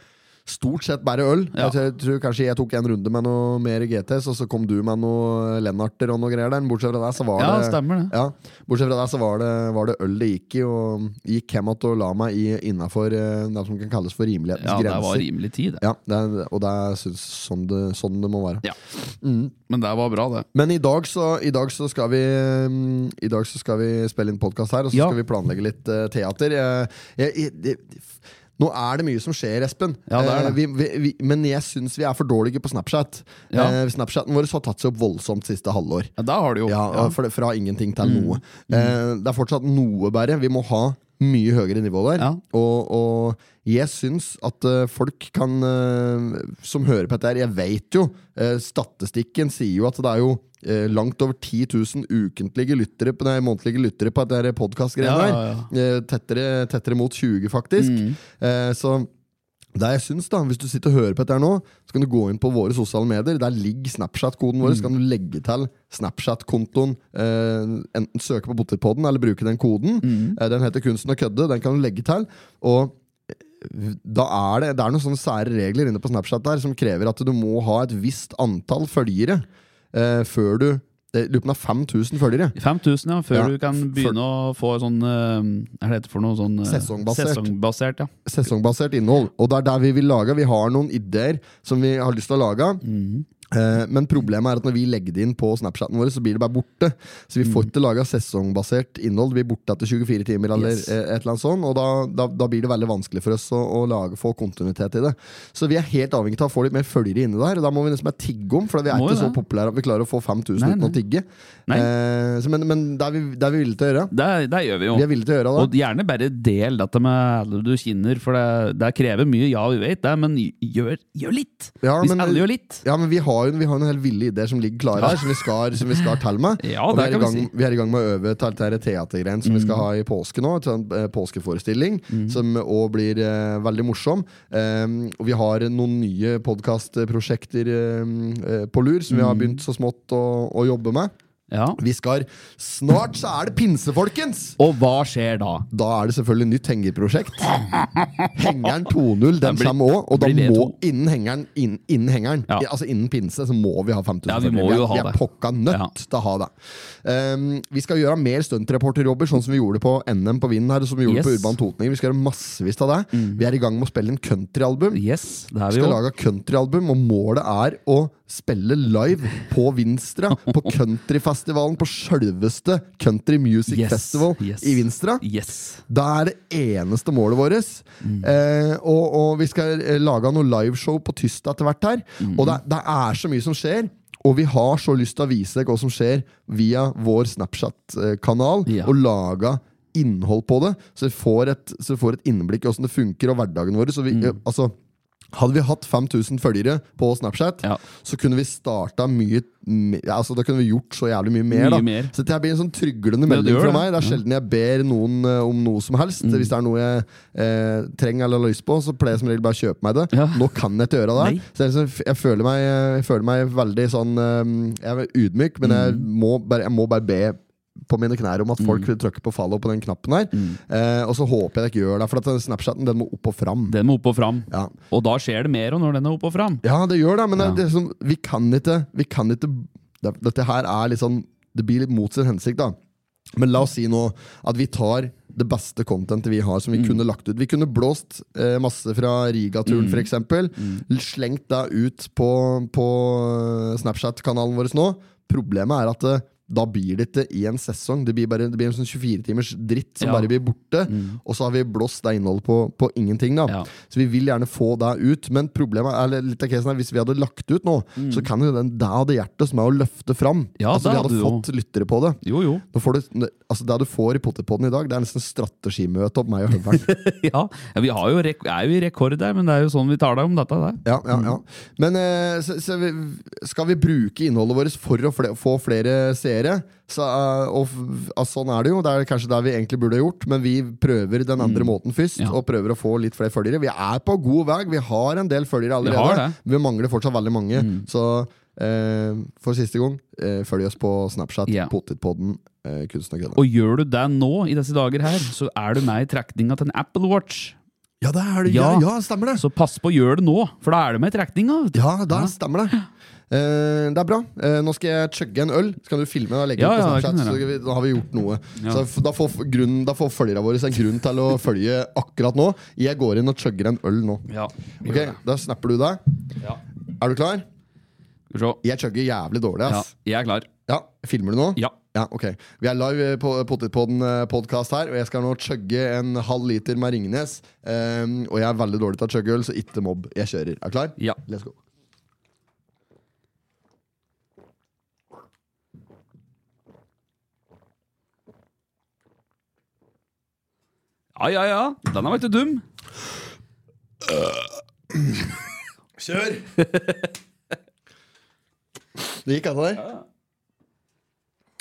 Speaker 1: stort sett bare øl.
Speaker 2: Ja.
Speaker 1: Jeg tror- tror kanskje jeg tok en runde med noe mer GTs, og så kom du med noe Lennarter og noe greier der. Men Bortsett fra det, så var
Speaker 2: Ja,
Speaker 1: det
Speaker 2: stemmer det.
Speaker 1: Ja. Bortsett fra det, så var det, var det øl det gikk i, og gikk hjem igjen og la meg innafor det som kan kalles for rimelighetens
Speaker 2: Ja, det var
Speaker 1: grenser.
Speaker 2: rimelig tid, det.
Speaker 1: ja, det, er- og det er synes- sånn det, sånn det må være.
Speaker 2: Ja. Men det var bra, det.
Speaker 1: Men i dag så, i dag så skal vi mm, I dag så skal vi spille inn podkast her, og så
Speaker 2: Ja.
Speaker 1: skal vi planlegge litt eh, teater. Jeg, jeg, jeg, det- f- nå er det mye som skjer, Espen.
Speaker 2: Ja, det er det.
Speaker 1: Eh, Vi, vi, vi, men jeg syns vi er for dårlige på Snapchat.
Speaker 2: Ja.
Speaker 1: Eh, Snapchaten vår har tatt seg opp voldsomt siste halvår.
Speaker 2: Ja, der har du jo.
Speaker 1: Ja,
Speaker 2: Ja. Mm.
Speaker 1: for det- Fra ingenting til noe. Eh, det er fortsatt noe bedre. Vi må ha mye høyere nivå der.
Speaker 2: Ja.
Speaker 1: Og, og jeg syns at eh, folk kan eh, Som hører på dette her, jeg vet jo eh, Statistikken sier jo at det er jo eh, langt over 10 000 ukentlige lyttere på, nei, månedlige lyttere på dette her podkastgreiene
Speaker 2: Ja,
Speaker 1: her.
Speaker 2: ja,
Speaker 1: Eh, tettere, tettere mot 20, faktisk. Eh, så det jeg syns da, Hvis du sitter og hører på dette her nå, så kan du gå inn på våre sosiale medier. Der ligger Snapchat-koden vår. Så kan du legge til Snapchat-kontoen. Eh, enten søke på Potetpodden eller bruke den koden.
Speaker 2: Mm.
Speaker 1: Eh, den heter Kunsten å kødde. Den kan du legge til. Og eh, da er det, det er noen sånne sære regler inne på Snapchat der som krever at du må ha et visst antall følgere eh, før du eh, det- Lurer på om det er 5000 følgere.
Speaker 2: 5000, ja, før
Speaker 1: Ja,
Speaker 2: du kan begynne å få sånn eh, Hva heter det for noe? Sånn, eh,
Speaker 1: Sesongbasert.
Speaker 2: sesongbasert, ja.
Speaker 1: sesongbasert innhold. Og det er der vi vil lage. Vi har noen ideer som vi har lyst til å lage.
Speaker 2: Mhm.
Speaker 1: Eh, Men problemet er at når vi legger det inn på Snapchaten vår, så blir det bare borte. Så vi
Speaker 2: Mhm.
Speaker 1: får ikke laga sesongbasert innhold. Vi er borte etter 24 timer, eller
Speaker 2: Yes.
Speaker 1: eh, et eller annet sånt. Og da, da, da blir det veldig vanskelig for oss å, å lage, få kontinuitet i det. Så vi er helt avhengig av å få litt mer følgere inne der. Og da må vi nesten bare tigge om, for vi er
Speaker 2: Må jo
Speaker 1: ikke så
Speaker 2: det.
Speaker 1: populære at vi klarer å få 5000
Speaker 2: Nei,
Speaker 1: uten
Speaker 2: nei.
Speaker 1: å tigge.
Speaker 2: Nei.
Speaker 1: Eh, så, men, men det er vi, det er vi villige til å gjøre.
Speaker 2: Det, det gjør vi jo.
Speaker 1: Vi er villige til å gjøre det.
Speaker 2: Og gjerne bare del dette med alle du kjenner, for det, det krever mye. Ja, vi vet det, men gjør, gjør litt!
Speaker 1: Ja,
Speaker 2: Hvis
Speaker 1: men-
Speaker 2: alle gjør litt.
Speaker 1: Ja, men vi har jo vi har jo noen helt ville ideer som ligger klare
Speaker 2: Ja.
Speaker 1: her, som vi skal, som vi skal telle med.
Speaker 2: Ja,
Speaker 1: og vi
Speaker 2: det
Speaker 1: er, i
Speaker 2: kan vi
Speaker 1: gang,
Speaker 2: si. Mm.
Speaker 1: vi er i gang med å øve til dette her teatergreiene som vi skal ha i påske nå. Et sånt, eh, påskeforestilling som òg blir eh, veldig morsom. Ehm, og vi har noen nye podkastprosjekter eh, på lur som vi
Speaker 2: Mm.
Speaker 1: har begynt så smått å, å jobbe med.
Speaker 2: Ja.
Speaker 1: Vi skal Snart så er det pinse, folkens!
Speaker 2: Og hva skjer da?
Speaker 1: Da er det selvfølgelig nytt hengerprosjekt. Hengeren 2.0 den
Speaker 2: Den blir-
Speaker 1: kommer òg, og da
Speaker 2: blir det
Speaker 1: må
Speaker 2: to.
Speaker 1: innen hengeren, innen, innen hengeren
Speaker 2: Ja.
Speaker 1: i- Altså innen pinse så må vi ha 5000.
Speaker 2: Ja, vi må
Speaker 1: følgere.
Speaker 2: jo ha
Speaker 1: vi er, vi er
Speaker 2: det.
Speaker 1: pokka nødt
Speaker 2: Ja.
Speaker 1: til å ha det. Um, vi skal gjøre mer stuntreporterjobber, sånn som vi gjorde på NM på Vinden her. og Som vi gjorde
Speaker 2: Yes.
Speaker 1: på Urban Totninger. Vi skal gjøre massevis av det. Vi er i gang med å spille inn countryalbum.
Speaker 2: Yes, det er
Speaker 1: Vi
Speaker 2: vi
Speaker 1: skal
Speaker 2: jo.
Speaker 1: lage countryalbum, og målet er å spille live på Vinstra. På countryfestivalen, på sjølveste Country Music
Speaker 2: Yes,
Speaker 1: Festival
Speaker 2: yes.
Speaker 1: i Vinstra.
Speaker 2: Yes.
Speaker 1: Det er det eneste målet vårt. Eh, og, og vi skal eh, lage noe liveshow på Tysta etter hvert her.
Speaker 2: Mm.
Speaker 1: Og det, det er så mye som skjer. Og vi har så lyst til å vise deg hva som skjer via vår Snapchat-kanal.
Speaker 2: Ja.
Speaker 1: Og lage innhold på det, så du får et, så du får et innblikk i åssen det funker, og hverdagen vår. Så vi,
Speaker 2: Mm.
Speaker 1: eh, altså, hadde vi hatt 5000 følgere på Snapchat,
Speaker 2: Ja.
Speaker 1: så kunne vi starta mye m- ja, altså, Da kunne vi gjort så jævlig mye mer.
Speaker 2: Mye
Speaker 1: da.
Speaker 2: mer.
Speaker 1: Så dette her blir en sånn tryglende
Speaker 2: Ja, Mm. det
Speaker 1: melding
Speaker 2: gjør
Speaker 1: fra meg.
Speaker 2: det.
Speaker 1: Det er sjelden jeg ber noen eh, om noe som helst. Hvis det er noe jeg eh, trenger eller har lyst på, så pleier jeg som regel bare å kjøpe meg det.
Speaker 2: Ja.
Speaker 1: Nå kan jeg ikke gjøre det.
Speaker 2: Nei.
Speaker 1: Så det er liksom, jeg, føler meg, jeg føler meg veldig sånn eh, Jeg er ydmyk, men jeg,
Speaker 2: Mm.
Speaker 1: må bare, jeg må bare be på mine knær om at folk vil trykke på follow på den knappen her.
Speaker 2: Mm.
Speaker 1: Eh, og så håper jeg de ikke gjør det, for at den Snapchaten den må opp og fram.
Speaker 2: Den må opp og fram.
Speaker 1: Ja.
Speaker 2: Og da skjer det mer og når den er opp og fram.
Speaker 1: Ja, det gjør det, men det,
Speaker 2: Ja.
Speaker 1: det er som, vi kan ikke, vi kan ikke det, Dette her er litt sånn Det blir litt mot sin hensikt, da. Men la oss si nå at vi tar det beste contentet vi har, som
Speaker 2: Mm.
Speaker 1: vi kunne lagt ut. Vi kunne blåst eh, masse fra
Speaker 2: Mm.
Speaker 1: Riga-turen, for f.eks. Slengt det ut på, på eh, Snapchat-kanalen vår nå. Problemet er at eh, da blir det ikke i en sesong. Det blir, bare, det blir en sånn 24-timers dritt som
Speaker 2: Ja. Mm.
Speaker 1: bare blir borte. Og så har vi blåst det innholdet på, på ingenting. da
Speaker 2: Ja.
Speaker 1: så vi vil gjerne få det ut, men problemet er eller litt av casen her, hvis vi hadde lagt ut nå, så kan jo den det hadde hjertet som er å løfte fram.
Speaker 2: Mm. Ja,
Speaker 1: altså,
Speaker 2: det
Speaker 1: vi hadde
Speaker 2: hadde jo-
Speaker 1: fått lyttere på det.
Speaker 2: Jo, jo.
Speaker 1: Nå får du, altså Det du får i Potterpodden i dag, Det er nesten strategimøte opp meg og Høveren.
Speaker 2: ja. ja, vi har jo rek er jo i rekord der, men det er jo sånn vi tar deg om dette der.
Speaker 1: Ja, ja, ja.
Speaker 2: Mm.
Speaker 1: Men eh, så, så vi, skal vi bruke innholdet vårt for å fle få flere seere? Så, eh, og, f- altså, sånn er det jo. Det er kanskje det vi egentlig burde ha gjort, men vi prøver den andre måten først.
Speaker 2: Mm. Ja.
Speaker 1: Og prøver å få litt flere følgere. Vi er på god vei. Vi har en del følgere
Speaker 2: Vi
Speaker 1: allerede.
Speaker 2: har det. Mm.
Speaker 1: Vi mangler fortsatt veldig mange. Så eh, for siste gang, eh, følg oss på Snapchat,
Speaker 2: Ja.
Speaker 1: Potetpodden, eh, Kunsten og kødda.
Speaker 2: Og gjør du det nå, i disse dager her, så er du med i trekninga til en Apple Watch.
Speaker 1: Ja, det er det. Ja,
Speaker 2: Ja.
Speaker 1: ja stemmer det!
Speaker 2: Så pass på å gjøre det nå, for da er det med trekning. Da.
Speaker 1: Ja, da stemmer det. Eh, det er bra. Eh, nå skal jeg chugge en øl. Så kan du filme og legge
Speaker 2: Ja,
Speaker 1: ut på
Speaker 2: ja, det kan
Speaker 1: Snapchat.
Speaker 2: jeg
Speaker 1: så
Speaker 2: gjøre.
Speaker 1: vi, da har vi gjort noe.
Speaker 2: Ja.
Speaker 1: Så f- da får, f- grunnen, da får følgerne våre en grunn til å følge akkurat nå. Jeg går inn og chugger en øl nå.
Speaker 2: Ja, vi
Speaker 1: Ok,
Speaker 2: gjør det.
Speaker 1: Da snapper du deg.
Speaker 2: Ja.
Speaker 1: Er du klar?
Speaker 2: Skal vi se.
Speaker 1: Jeg chugger jævlig dårlig.
Speaker 2: Ja,
Speaker 1: ass
Speaker 2: jeg er klar.
Speaker 1: Ja, Filmer du nå?
Speaker 2: Ja.
Speaker 1: ok Vi er live på Potetpodden-podkast her, og jeg skal nå chugge en halv liter med Ringnes. Eh, og jeg er veldig dårlig til å chugge øl, så ikke mobb. Jeg kjører. Er du klar?
Speaker 2: Ja.
Speaker 1: Let's go.
Speaker 2: ja, ja, ja. Den er vel ikke dum.
Speaker 1: Kjør! det gikk an der.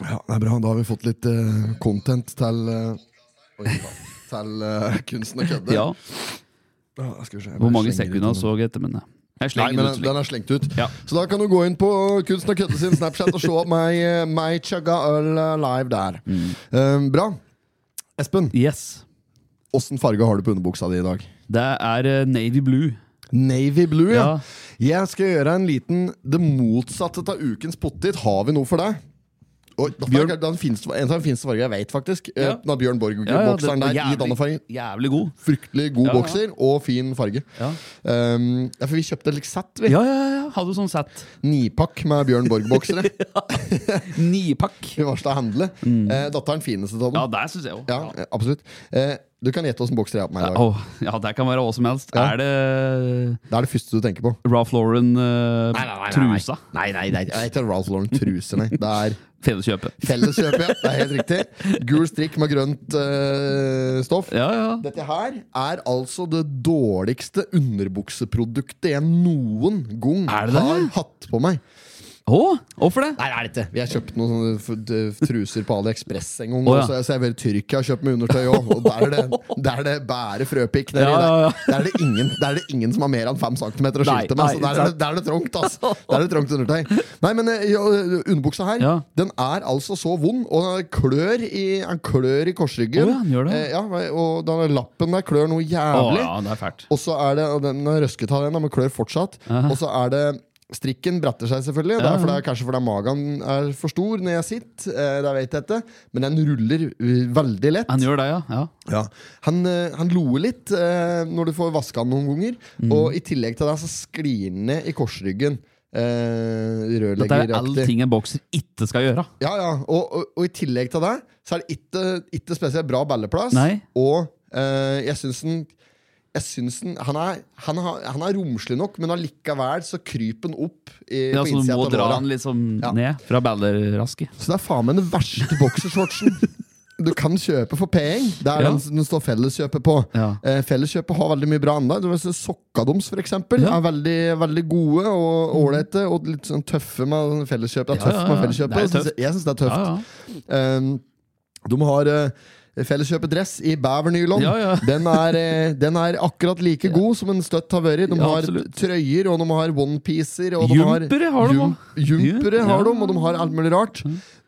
Speaker 1: Ja, det er bra. Da har vi fått litt eh, content til eh, Oi, faen. Til eh, kunsten å kødde.
Speaker 2: Ja.
Speaker 1: Ja, skal vi se, jeg bare
Speaker 2: Hvor mange
Speaker 1: slenger ut
Speaker 2: sekunder
Speaker 1: den.
Speaker 2: så jeg etter, men jeg
Speaker 1: Nei,
Speaker 2: slenger
Speaker 1: men
Speaker 2: den
Speaker 1: den,
Speaker 2: ut.
Speaker 1: den er slengt ut.
Speaker 2: Ja.
Speaker 1: Så da kan du gå inn på Kunsten å kødde sin Snapchat og se meg, eh, meg chugga øl eh, live der.
Speaker 2: Mm.
Speaker 1: Eh, bra. Espen,
Speaker 2: Yes.
Speaker 1: åssen farge har du på underbuksa di i dag?
Speaker 2: Det er eh, Navy Blue.
Speaker 1: Navy blue, ja.
Speaker 2: Ja.
Speaker 1: Jeg skal gjøre en liten Det motsatte av ukens pottit. Har vi noe for deg? Oi, da-
Speaker 2: Bjørn-
Speaker 1: den fineste, en av de fineste fargene jeg vet, faktisk.
Speaker 2: Ja.
Speaker 1: Eh, Den har Bjørn Borg-bokseren
Speaker 2: det-
Speaker 1: der i Dannefargen.
Speaker 2: jævlig, jævlig god.
Speaker 1: Fryktelig god
Speaker 2: Ja, ja.
Speaker 1: bokser og fin farge.
Speaker 2: Ja.
Speaker 1: Um, ja, for vi kjøpte et sett, vi.
Speaker 2: Ja, ja, ja. Hadde sånn sett.
Speaker 1: Nipakk med Bjørn Borg-boksere.
Speaker 2: Nipakk.
Speaker 1: Vi varsla å handle. Eh, Datteren fineste av
Speaker 2: Mm. Ja,
Speaker 1: dem.
Speaker 2: der syns jeg òg.
Speaker 1: Ja, eh, absolutt. Eh, du kan gjette åssen bokser jeg har på meg i dag.
Speaker 2: Åh, ja, det kan være hva som helst.
Speaker 1: Ja.
Speaker 2: Er det eh,
Speaker 1: Det er det første du tenker på.
Speaker 2: Ralph eh, Lauren-trusa?
Speaker 1: Nei, nei, nei. Det er ikke Ralph Lauren-truse, nei. Det er
Speaker 2: Felleskjøpet.
Speaker 1: Felleskjøp, ja. Det er helt riktig. Gul strikk med grønt eh, stoff.
Speaker 2: Ja, ja.
Speaker 1: Dette her er altså det dårligste underbukseproduktet jeg noen gang
Speaker 2: Er det det?
Speaker 1: har hatt på meg.
Speaker 2: Å, hvorfor det?
Speaker 1: Nei, det er det ikke. Vi har kjøpt noen sånne f- d- truser på AliExpress en gang.
Speaker 2: Å, ja.
Speaker 1: og så jeg- så jeg har vært i Tyrkia og kjøpt meg undertøy òg. Og der er det, der er det bare frøpikk nedi.
Speaker 2: Ja, ja, ja.
Speaker 1: Der, der, er det ingen- der er det ingen som har mer enn fem centimeter å
Speaker 2: Nei,
Speaker 1: skilte med. Så
Speaker 2: nei,
Speaker 1: der er det, der er det trangt, ass. Der er det trangt undertøy. Nei, men eh, ja, underbuksa her,
Speaker 2: Ja.
Speaker 1: den er altså så vond, og den klør i, den klør i korsryggen.
Speaker 2: Å, ja, den gjør det.
Speaker 1: Eh, ja, og den lappen der klør noe
Speaker 2: Å
Speaker 1: jævlig.
Speaker 2: ja, det er fælt.
Speaker 1: Og så er det, og den er røsket av den, da, men klør fortsatt. Og så er det Strikken bretter seg, selvfølgelig. Det er fordi, kanskje fordi magen er for stor når jeg sitter. Eh, det vet jeg ikke. Men den ruller eh, veldig lett.
Speaker 2: Han gjør det, ja. ja.
Speaker 1: Ja. Han, eh, han loer litt eh, når du får vaska han noen ganger.
Speaker 2: Mm.
Speaker 1: Og i tillegg til det så sklir han ned i korsryggen. Eh,
Speaker 2: Dette er
Speaker 1: Rørleggeraktig.
Speaker 2: alle ting en bokser ikke skal gjøre.
Speaker 1: Ja, ja. Og, og, og i tillegg til det, så er det ikke, ikke spesielt bra balleplass.
Speaker 2: Nei.
Speaker 1: Og eh, jeg syns den jeg synes den, han, er, han, har- han er romslig nok, men allikevel så kryper han opp i, på
Speaker 2: Ja, så du
Speaker 1: innsida
Speaker 2: må
Speaker 1: av
Speaker 2: dra
Speaker 1: låra.
Speaker 2: han liksom
Speaker 1: Ja.
Speaker 2: ned fra ballerraske.
Speaker 1: Så det er faen meg den verste boksershortsen du kan kjøpe for penger. Det er
Speaker 2: Ja.
Speaker 1: den som den står Felleskjøpet på.
Speaker 2: Ja.
Speaker 1: Eh, felleskjøpet har veldig mye bra annet. Du vet, så Sokka deres, for eksempel,
Speaker 2: Ja. Mm.
Speaker 1: er veldig, veldig gode og ålreite. Og litt sånn tøffe med sånn felleskjøpet. Det er
Speaker 2: Ja,
Speaker 1: tøft
Speaker 2: ja,
Speaker 1: med
Speaker 2: ja.
Speaker 1: felleskjøpet.
Speaker 2: Det er
Speaker 1: Jeg synes-
Speaker 2: tøft.
Speaker 1: Jeg syns det er tøft.
Speaker 2: Ja, ja.
Speaker 1: Um, de har uh, felleskjøpet dress i bævernylon.
Speaker 2: Ja, ja.
Speaker 1: Den, er, eh, den er akkurat like god som en støtt har vært. De
Speaker 2: Ja,
Speaker 1: har
Speaker 2: absolutt.
Speaker 1: trøyer, og de har onepiecer. og de
Speaker 2: Jumpere har de
Speaker 1: jum-
Speaker 2: også.
Speaker 1: Jumpere
Speaker 2: Ja. Mm.
Speaker 1: har de, og de har alt mulig rart.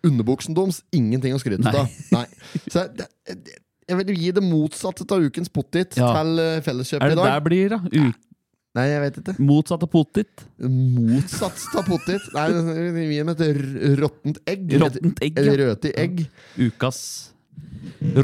Speaker 1: Underbuksen deres, ingenting å skryte av. Nei. Så det, det, jeg vil gi det motsatte av ukens pottit
Speaker 2: Ja.
Speaker 1: til eh, felleskjøpet
Speaker 2: Er
Speaker 1: i
Speaker 2: det der
Speaker 1: dag.
Speaker 2: blir, da? U
Speaker 1: Nei, jeg vet ikke.
Speaker 2: motsatte potet?
Speaker 1: Motsatt av pottit. Nei, vi gir dem et r- råttent egg.
Speaker 2: Råttent egg, ja.
Speaker 1: Et Røti egg.
Speaker 2: Ukas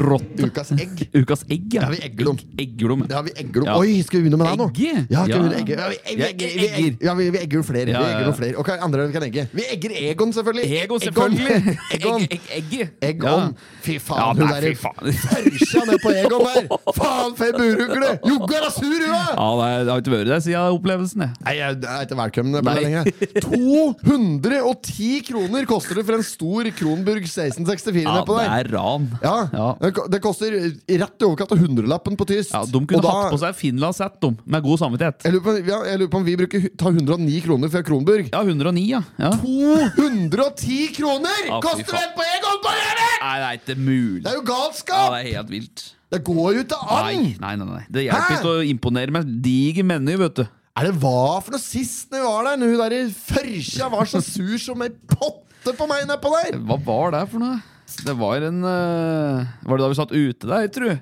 Speaker 2: rotte.
Speaker 1: Ukas egg.
Speaker 2: Ukas egg,
Speaker 1: Ja, vi egger dem.
Speaker 2: Egglom.
Speaker 1: Ja, vi egger opp.
Speaker 2: Ja.
Speaker 1: Oi, skal vi begynne med deg nå?
Speaker 2: Egge?
Speaker 1: Ja, skal vi
Speaker 2: Ja.
Speaker 1: begynne å egge? Ja, vi, vi,
Speaker 2: Ja,
Speaker 1: egger, vi,
Speaker 2: egger.
Speaker 1: egger. Ja, vi, vi egger jo flere.
Speaker 2: Ja,
Speaker 1: vi
Speaker 2: ja,
Speaker 1: egger jo
Speaker 2: ja.
Speaker 1: flere. Ok, andre vi kan egge. Vi egger Egon, selvfølgelig.
Speaker 2: Ego, selvfølgelig.
Speaker 1: Egon.
Speaker 2: Egg, egg, egg.
Speaker 1: Egg
Speaker 2: Ja.
Speaker 1: on. Fy faen,
Speaker 2: Ja,
Speaker 1: hun
Speaker 2: nei,
Speaker 1: der
Speaker 2: fy faen.
Speaker 1: Tørsa ned på Egon der! Faen, for ei burhugle! Joggar er sur, hun! er!
Speaker 2: Ja, det er- det har ikke vært der siden opplevelsen, jeg.
Speaker 1: Nei, jeg jeg er ikke velkommen på det
Speaker 2: Nei.
Speaker 1: lenger. 210 kroner koster det for en stor Kronburg 1664
Speaker 2: Ja,
Speaker 1: nedpå
Speaker 2: det
Speaker 1: der.
Speaker 2: er ran.
Speaker 1: Ja.
Speaker 2: Ja.
Speaker 1: Det ko- Det koster rett i overkant av hundrelappen på tyst.
Speaker 2: Ja, de kunne
Speaker 1: Og da-
Speaker 2: hatt på seg Finlandshett, de. Med god samvittighet.
Speaker 1: Jeg lurer, på, ja, jeg lurer på om vi bruker, tar 109 kroner fra Kronburg.
Speaker 2: Ja, 109, ja. ja.
Speaker 1: 210 kroner
Speaker 2: Ja, fy
Speaker 1: koster det
Speaker 2: faen.
Speaker 1: på Egon på Gjøvik!
Speaker 2: Nei, det er ikke mulig.
Speaker 1: Det er jo
Speaker 2: Ja,
Speaker 1: galskap!
Speaker 2: det er helt vilt.
Speaker 1: Det går jo ikke an!
Speaker 2: Nei, nei, nei, nei. Det
Speaker 1: Hæ?
Speaker 2: hjelper ikke å imponere med diger meny, vet du.
Speaker 1: Er det hva for noe sist når vi var der? Når hun der i førkja var så sur som ei potte på meg nedpå der!
Speaker 2: Hva var det for noe? Det var en eh, Var det da vi satt ute der, tru?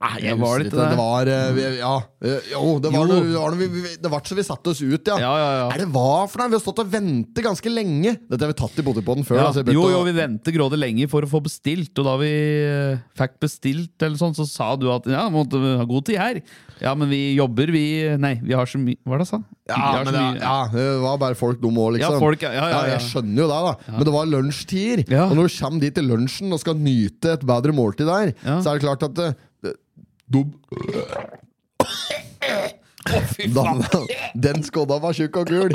Speaker 1: Nei, jeg
Speaker 2: var
Speaker 1: husker
Speaker 2: litt
Speaker 1: ikke.
Speaker 2: der.
Speaker 1: Det var eh, vi- Ja. eh, Jo, det var
Speaker 2: Jo.
Speaker 1: noe- det var noe vi- vi- det var så vi satte oss ut, ja.
Speaker 2: Ja, ja, ja.
Speaker 1: Er det hva for noe? Vi har stått og ventet ganske lenge. Dette har vi tatt i Bodøpodden før.
Speaker 2: Ja.
Speaker 1: da, så jeg begynte
Speaker 2: Jo,
Speaker 1: å-
Speaker 2: jo, vi venter grådig lenge for å få bestilt, og da vi eh, fikk bestilt, eller sånn, så sa du at ja, måtte vi ha god tid her. Ja, men vi jobber, vi Nei, vi har så mye Hva er det jeg sa? Vi
Speaker 1: Ja,
Speaker 2: har
Speaker 1: men
Speaker 2: så
Speaker 1: det,
Speaker 2: mye-
Speaker 1: ja, det var bare folk dumme òg, liksom.
Speaker 2: Ja, folk, ja, ja, ja, ja.
Speaker 1: Jeg skjønner jo det, da. Men det var lunsjtider.
Speaker 2: Ja.
Speaker 1: Og når du kommer dit til lunsjen og skal nyte et bedre måltid der,
Speaker 2: Ja.
Speaker 1: så er det klart at eh, dum,
Speaker 2: Fy faen!
Speaker 1: Danna, Den skodda var tjukk og gul.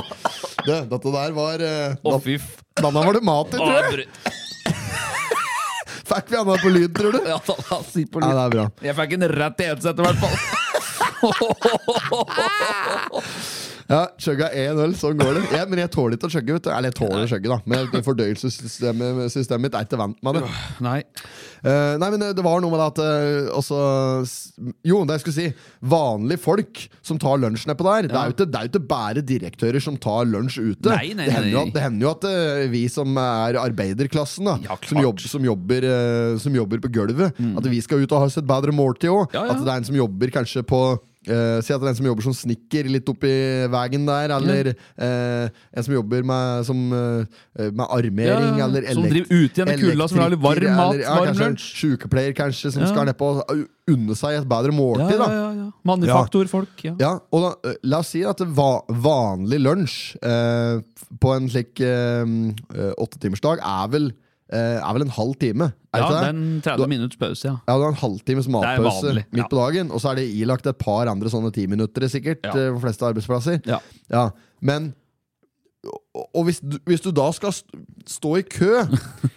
Speaker 1: Det, dette der var eh,
Speaker 2: Å,
Speaker 1: da-
Speaker 2: fy f...
Speaker 1: Danna var det mat i,
Speaker 2: Å,
Speaker 1: tror jeg.
Speaker 2: bru-
Speaker 1: Fikk vi annet på lyd, tror du?
Speaker 2: Ja, da, da, sitt på
Speaker 1: Nei,
Speaker 2: litt.
Speaker 1: det er bra.
Speaker 2: Jeg fikk en rett i headsetet, i hvert fall.
Speaker 1: Ja, Chugga én øl, sånn går det. Jeg, men jeg tåler ikke å chugge. vet du. Eller jeg tåler å chugge, da. Men fordøyelsessystemet systemet mitt er ikke vant med det.
Speaker 2: Nei.
Speaker 1: Eh, nei, men eh, det var noe med det at eh, også, s- Jo, det jeg skulle si. Vanlige folk som tar lunsj nedpå der. Det, er jo ikke, det er jo ikke bare direktører som tar lunsj ute.
Speaker 2: Nei, nei,
Speaker 1: det, hender jo
Speaker 2: nei.
Speaker 1: at, det hender jo at eh, vi som er arbeiderklassen, da,
Speaker 2: Ja, klart. Mm.
Speaker 1: som, jobb, som, jobber, eh, som jobber på gulvet, at vi skal ut og ha oss et bedre måltid òg.
Speaker 2: Ja, ja.
Speaker 1: At det er en som jobber kanskje på eh, si at det er en som jobber som snekker litt oppi veien der, eller eh, en som jobber med, som, eh, med armering,
Speaker 2: Ja, ja.
Speaker 1: eller
Speaker 2: Som driver ute igjen i kulda, som vil ha litt varm
Speaker 1: elektriker,
Speaker 2: mat,
Speaker 1: eller- ja,
Speaker 2: varm
Speaker 1: kanskje en
Speaker 2: lunsj.
Speaker 1: sykepleier kanskje som
Speaker 2: Ja.
Speaker 1: skal nedpå og unne seg et bedre
Speaker 2: Ja,
Speaker 1: måltid.
Speaker 2: ja,
Speaker 1: da.
Speaker 2: ja, ja. Manufaktorfolk. Ja.
Speaker 1: Ja, og da, eh, La oss si at det va vanlig lunsj eh, på en slik eh, eh, åttetimersdag er, vel, eh, er vel en halv time? Er
Speaker 2: Ja,
Speaker 1: ikke det?
Speaker 2: den 30 minutts pause, ja.
Speaker 1: Ja, du har en halvtimes matpause
Speaker 2: vanlig,
Speaker 1: midt
Speaker 2: ja.
Speaker 1: på dagen, og så er det ilagt et par andre sånne timinuttere, sikkert,
Speaker 2: Ja.
Speaker 1: eh, på fleste arbeidsplasser.
Speaker 2: Ja.
Speaker 1: Ja, men Og, og hvis, du, hvis du da skal st stå i kø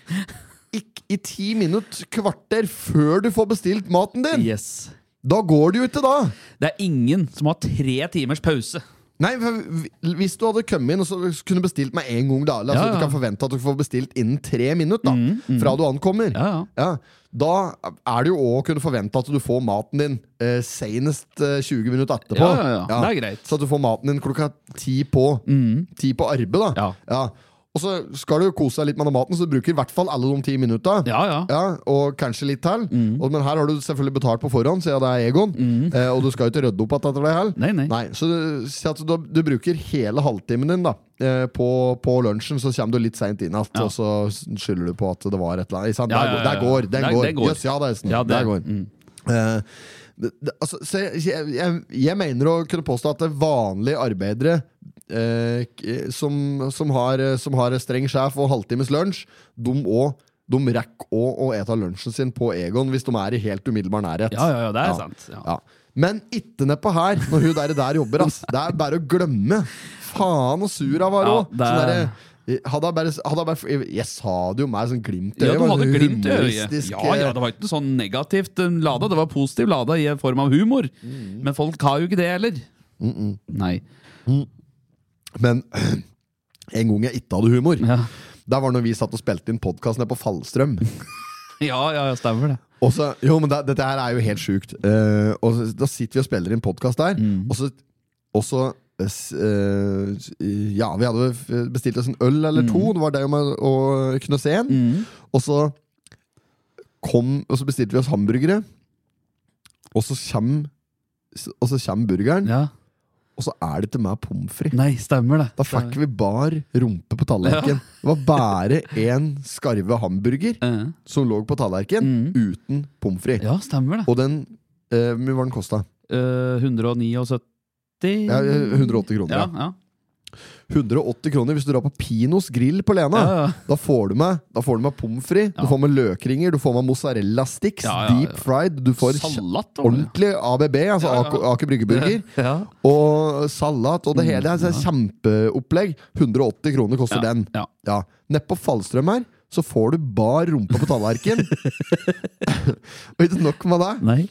Speaker 1: ikk- i ti minutter, kvarter, før du får bestilt maten din,
Speaker 2: Yes.
Speaker 1: da går det jo ikke da!
Speaker 2: Det er ingen som har tre timers pause.
Speaker 1: Nei, for hvi- Hvis du hadde kommet inn og så kunne bestilt med en gang, da La oss si at
Speaker 2: Ja, ja.
Speaker 1: Du
Speaker 2: Mm,
Speaker 1: kan forvente at du får bestilt innen tre minutter da, fra du ankommer.
Speaker 2: Ja, ja.
Speaker 1: Ja, da er det jo òg å kunne forvente at du får maten din eh, senest eh, 20 minutter etterpå.
Speaker 2: Ja, ja, ja. Det er greit. Mm.
Speaker 1: Så at du får maten din klokka ti på, ti på arbeid. da
Speaker 2: Ja.
Speaker 1: Og så skal du jo kose deg litt med den maten, så du bruker i hvert fall alle de ti minutta.
Speaker 2: Ja, ja. Mm.
Speaker 1: og kanskje litt til. Og- Men her har du selvfølgelig betalt på forhånd, siden det er Egon. Eh, og du skal jo ikke rydde opp igjen etter det her.
Speaker 2: Nei, nei.
Speaker 1: så du, si at du, du bruker hele halvtimen din da eh, på, på lunsjen, så kommer du litt seint inn igjen,
Speaker 2: Ja.
Speaker 1: og så skylder du på at det var et eller annet. Ikke sant?
Speaker 2: Ja,
Speaker 1: der,
Speaker 2: ja,
Speaker 1: går-
Speaker 2: ja,
Speaker 1: der går, den
Speaker 2: Der-
Speaker 1: går.
Speaker 2: det går.
Speaker 1: Jøss, ja, det er sånn.
Speaker 2: Ja, det- mm.
Speaker 1: der går. Eh, det, det, altså, så jeg, jeg, jeg, jeg mener å kunne påstå at det er vanlige arbeidere eh, k- som, som, har, eh, som har streng sjef og halvtimes lunsj, de, også, de rekker òg å ete lunsjen sin på Egon hvis de er i helt umiddelbar nærhet.
Speaker 2: Ja, ja, ja, det er sant, ja.
Speaker 1: Men ikke nedpå her, når hun der, der jobber. Ass. Det er bare å glemme. Faen og sur han var
Speaker 2: Ja,
Speaker 1: òg.
Speaker 2: det er-
Speaker 1: hadde jeg bare, hadde jeg, bare jeg, sa det jo med sånn glimt i øyet.
Speaker 2: Ja, du
Speaker 1: men
Speaker 2: hadde
Speaker 1: sånn
Speaker 2: glimt i øyet.
Speaker 1: humoristisk,
Speaker 2: Ja, ja,
Speaker 1: eh,
Speaker 2: det var ikke noe sånn negativt eh, lada. Det var positiv lada i en form av humor. Men folk har jo ikke det heller. Nei.
Speaker 1: Men en gang jeg ikke hadde humor,
Speaker 2: Ja.
Speaker 1: der var når vi satt og spilte inn podkast nede på Fallstrøm.
Speaker 2: ja, ja, ja, stemmer det.
Speaker 1: Og så, jo, men det, Dette her er jo helt sjukt. Eh, og så, da sitter vi og spiller inn podkast der,
Speaker 2: Mm.
Speaker 1: og så, og så eh, s- eh, Ja, vi hadde f- bestilt oss en øl eller to.
Speaker 2: Mm.
Speaker 1: Det var det med å knusse en. Og så kom Og så bestilte vi oss hamburgere, og så kommer og så kommer burgeren,
Speaker 2: Ja.
Speaker 1: og så er det til meg pommes frites.
Speaker 2: Nei, stemmer det.
Speaker 1: Da fikk vi bar rumpe på tallerkenen. Det var bare én skarve hamburger
Speaker 2: Eh,
Speaker 1: som lå på tallerkenen, uten pommes frites.
Speaker 2: Mm. Ja, stemmer det.
Speaker 1: Og den eh, Hvor mye var den kosta?
Speaker 2: Eh, 179
Speaker 1: Ja, eh, 180 kroner.
Speaker 2: Ja,
Speaker 1: Ja. 180 kroner hvis du drar på Pinos grill på Lena.
Speaker 2: Ja, ja.
Speaker 1: Da får du med, da får du med pommes frites,
Speaker 2: Ja.
Speaker 1: du får med løkringer, du får med mozzarella sticks,
Speaker 2: Ja, ja, ja.
Speaker 1: deep fried, du får kj-
Speaker 2: Salat. var det.
Speaker 1: ordentlig ABB, altså
Speaker 2: Ja, ja.
Speaker 1: Aker- Aker Brygge-burger.
Speaker 2: Ja.
Speaker 1: Og salat og det
Speaker 2: Mm,
Speaker 1: hele. Altså, Kjempeopplegg. 180 kroner koster
Speaker 2: Ja,
Speaker 1: den.
Speaker 2: ja.
Speaker 1: Ja. Nedpå Fallstrøm her, så får du bar rumpe på tallerken. og ikke nok med det.
Speaker 2: Nei.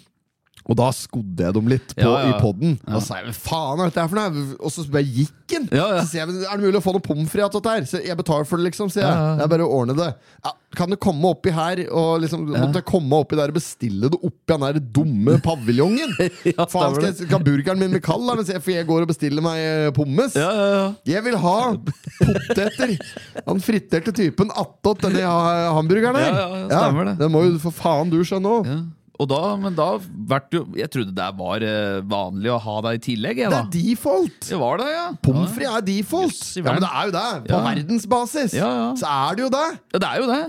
Speaker 1: Og da skodde jeg dem litt på,
Speaker 2: Ja, ja, ja.
Speaker 1: i poden. Og sa jeg, hva faen er dette her for noe? Og så bare gikk den.
Speaker 2: Ja, ja.
Speaker 1: Så sier jeg, men er det mulig å få noe pommes frites av dette her? Så jeg betaler for det, liksom, sier jeg.
Speaker 2: Ja, ja, ja.
Speaker 1: Jeg bare ordner det. Ja, kan du komme oppi her og liksom Måtte jeg komme oppi der og bestille det oppi den der dumme paviljongen?
Speaker 2: Ja,
Speaker 1: faen, skal,
Speaker 2: stemmer
Speaker 1: jeg- skal burgeren min bli kald, da? Mens jeg, for jeg går og bestiller meg eh, pommes?
Speaker 2: Ja, ja, ja.
Speaker 1: Jeg vil ha poteter! Han friterte typen attåt denne ha- hamburgeren her.
Speaker 2: Ja, ja, ja, stemmer det.
Speaker 1: det må jo for faen du skjønne òg.
Speaker 2: Ja. Og da, men da vært jo, Jeg trodde det var eh, vanlig å ha deg i tillegg.
Speaker 1: Det
Speaker 2: Jeg, da.
Speaker 1: er default!
Speaker 2: Det var det, ja.
Speaker 1: Pommes frites er default!
Speaker 2: Jøss i
Speaker 1: Ja,
Speaker 2: verden.
Speaker 1: men det er jo det! På
Speaker 2: Ja.
Speaker 1: verdensbasis
Speaker 2: Ja, ja.
Speaker 1: så er det jo det!
Speaker 2: Ja, det er jo det.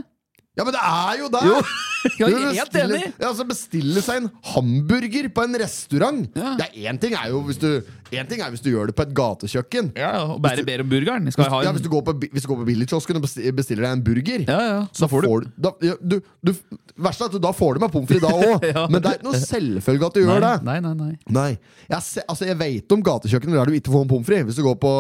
Speaker 1: Ja, men det er jo det!
Speaker 2: Jo, jeg
Speaker 1: Du
Speaker 2: er helt
Speaker 1: bestiller-
Speaker 2: enig.
Speaker 1: Ja, altså Bestille seg en hamburger på en restaurant
Speaker 2: Ja.
Speaker 1: Det er Én ting er jo hvis du En ting er hvis du gjør det på et gatekjøkken.
Speaker 2: Ja, ja, og Bare ber om burgeren. Skal jeg ha
Speaker 1: Ja,
Speaker 2: en?
Speaker 1: hvis du går på, bi- hvis du går på billigkiosken og besti- bestiller deg en burger
Speaker 2: Ja, ja. Da får du
Speaker 1: får du, da, ja, du, du Verst er at du da får du med pommes frites da òg,
Speaker 2: Ja.
Speaker 1: men det er ikke noe selvfølge at du
Speaker 2: Nei,
Speaker 1: gjør det.
Speaker 2: nei, nei. nei.
Speaker 1: Nei. Jeg, se, altså, jeg vet om gatekjøkken der du ikke får en pommes frites. Hvis du går på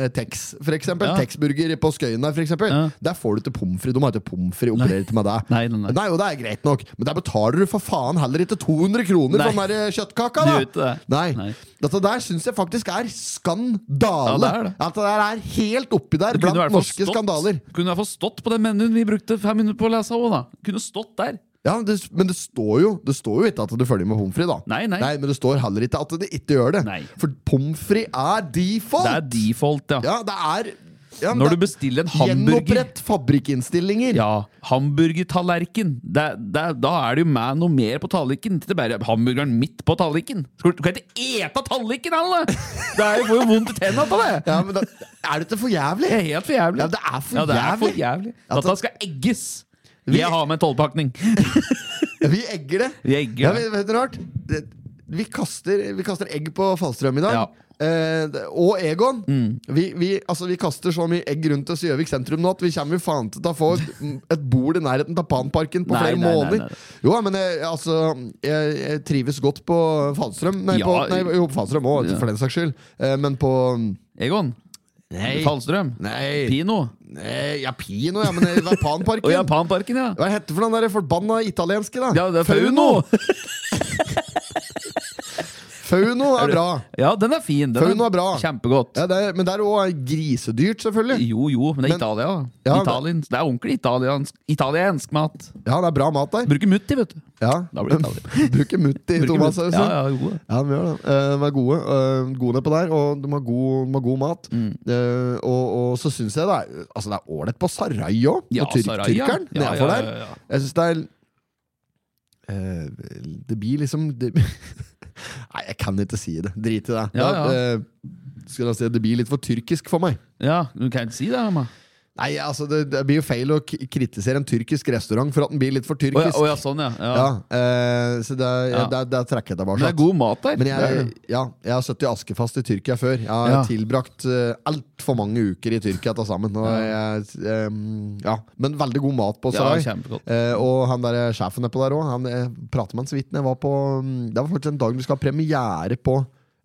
Speaker 1: eh, Tex, for eksempel.
Speaker 2: Ja.
Speaker 1: Tex-burger på Skøyen der, for eksempel.
Speaker 2: Ja.
Speaker 1: Der får du ikke pommes frites. De har ikke pommes frites operert med deg.
Speaker 2: Nei, nei, nei.
Speaker 1: jo, det er greit nok, men der betaler du for faen heller ikke 200 kroner for den
Speaker 2: Nei.
Speaker 1: der eh, kjøttkaka,
Speaker 2: Du
Speaker 1: da!
Speaker 2: gjør ikke det.
Speaker 1: Nei.
Speaker 2: Nei.
Speaker 1: Dette der syns jeg faktisk er
Speaker 2: Ja,
Speaker 1: skandale.
Speaker 2: det er det.
Speaker 1: At det der er helt oppi der
Speaker 2: Du kunne i
Speaker 1: blant
Speaker 2: hvert fall
Speaker 1: norske
Speaker 2: stått-
Speaker 1: skandaler.
Speaker 2: Kunne i hvert fall stått på den menyen vi brukte fem minutter på å lese òg, da. Kunne stått der.
Speaker 1: Ja, men det, men det står jo Det står jo ikke at du følger med pommes frites, da.
Speaker 2: Nei, nei.
Speaker 1: Men det står heller ikke at det ikke gjør det.
Speaker 2: Nei.
Speaker 1: For pommes frites er default!
Speaker 2: Det er default, ja.
Speaker 1: Ja, det er ja, men
Speaker 2: Når
Speaker 1: det-
Speaker 2: du bestiller en hamburger
Speaker 1: Gjenopprett fabrikkinnstillinger!
Speaker 2: Ja, hamburgertallerken. Det, det, da er det jo med noe mer på tallerkenen. Ikke bare hamburgeren midt på tallerkenen. Skal Du du kan ikke ete tallerken, alle! Det er jo får jo vondt i tenna på det!
Speaker 1: Ja, men da, er det ikke for
Speaker 2: Det
Speaker 1: jævlig?
Speaker 2: er helt for jævlig.
Speaker 1: Ja, det er for
Speaker 2: Ja, det er for
Speaker 1: jævlig.
Speaker 2: jævlig.
Speaker 1: Ja,
Speaker 2: Dette
Speaker 1: det-
Speaker 2: skal egges.
Speaker 1: Vi-
Speaker 2: Jeg har med en tolvpakning.
Speaker 1: Vi egger det.
Speaker 2: Vi egger
Speaker 1: ja,
Speaker 2: det.
Speaker 1: men vet du rart? Det, vi, kaster, vi kaster egg på Falstrøm i dag.
Speaker 2: Ja. Mm.
Speaker 1: Eh, det- og Egon. Vi, vi, altså, vi kaster så mye egg rundt oss i Gjøvik sentrum nå at vi kommer jo faen til å få et, et bord i nærheten av Panparken på
Speaker 2: Nei,
Speaker 1: flere
Speaker 2: nei, nei,
Speaker 1: måneder.
Speaker 2: nei, nei.
Speaker 1: Jo, men jeg, altså, jeg, jeg trives godt på Falstrøm. Nei,
Speaker 2: Ja,
Speaker 1: på, nei jo, på Falstrøm òg, for den saks skyld. Eh, men på
Speaker 2: Egon.
Speaker 1: Nei.
Speaker 2: Falstrøm.
Speaker 1: Nei.
Speaker 2: Pino.
Speaker 1: Nei, ja, Pino, ja, men det var Panparken.
Speaker 2: Og Japanparken, ja.
Speaker 1: Hva heter for den der forbanna italienske, da?
Speaker 2: Ja, det er Fauno!
Speaker 1: Fauno er bra.
Speaker 2: Ja, den er fin. Den
Speaker 1: Fauno er bra.
Speaker 2: Kjempegodt.
Speaker 1: Ja, det er, men det er òg grisedyrt, selvfølgelig.
Speaker 2: Jo, jo, men det er
Speaker 1: Men-
Speaker 2: Italia. da.
Speaker 1: Ja, det-
Speaker 2: Italien. Det er ordentlig italiensk, italiensk mat.
Speaker 1: Ja, det er bra mat der.
Speaker 2: Bruker mutti, vet du.
Speaker 1: Ja.
Speaker 2: Da blir det Italia.
Speaker 1: Bruker mutt i
Speaker 2: Bruker mutti.
Speaker 1: tomatsausen.
Speaker 2: Ja, ja, jo.
Speaker 1: Ja, de gjør det. Eh, De er gode, eh, gode nedpå der, og de har god, de har god mat.
Speaker 2: Mm.
Speaker 1: Eh, og, og så syns jeg det er Altså det er ålnedit på Sarai òg,
Speaker 2: Ja,
Speaker 1: og tyrk,
Speaker 2: Sarai, ja.
Speaker 1: tyrkeren
Speaker 2: Ja,
Speaker 1: nedfor
Speaker 2: ja,
Speaker 1: der.
Speaker 2: ja, ja.
Speaker 1: Jeg syns det er eh, Det blir liksom det, Nei, jeg kan ikke si det. Drit i det.
Speaker 2: Ja, ja.
Speaker 1: Det, eh, skal jeg si, det blir litt for tyrkisk for meg.
Speaker 2: Ja, du kan ikke si det. Emma.
Speaker 1: Nei, altså Det, det blir jo feil å k kritisere en tyrkisk restaurant for at den blir litt for
Speaker 2: Å ja,
Speaker 1: tyrkisk.
Speaker 2: å ja, sånn, ja. ja.
Speaker 1: Ja, eh, så det,
Speaker 2: Ja.
Speaker 1: det, det trekker jeg tilbake.
Speaker 2: Men det er god mat der.
Speaker 1: Men
Speaker 2: Det er
Speaker 1: jeg,
Speaker 2: det.
Speaker 1: ja, jeg har sittet i askefast i Tyrkia før. Jeg har
Speaker 2: Ja.
Speaker 1: tilbrakt uh, altfor mange uker i Tyrkia til sammen. Og jeg, ehm, ja. Men veldig god mat på
Speaker 2: Ja,
Speaker 1: Sarai.
Speaker 2: kjempegodt.
Speaker 1: Eh, og han der, sjefen nedpå der òg, han eh, prater med han så vidt. når jeg var på, mm, Det var faktisk en dag vi skal ha premiere på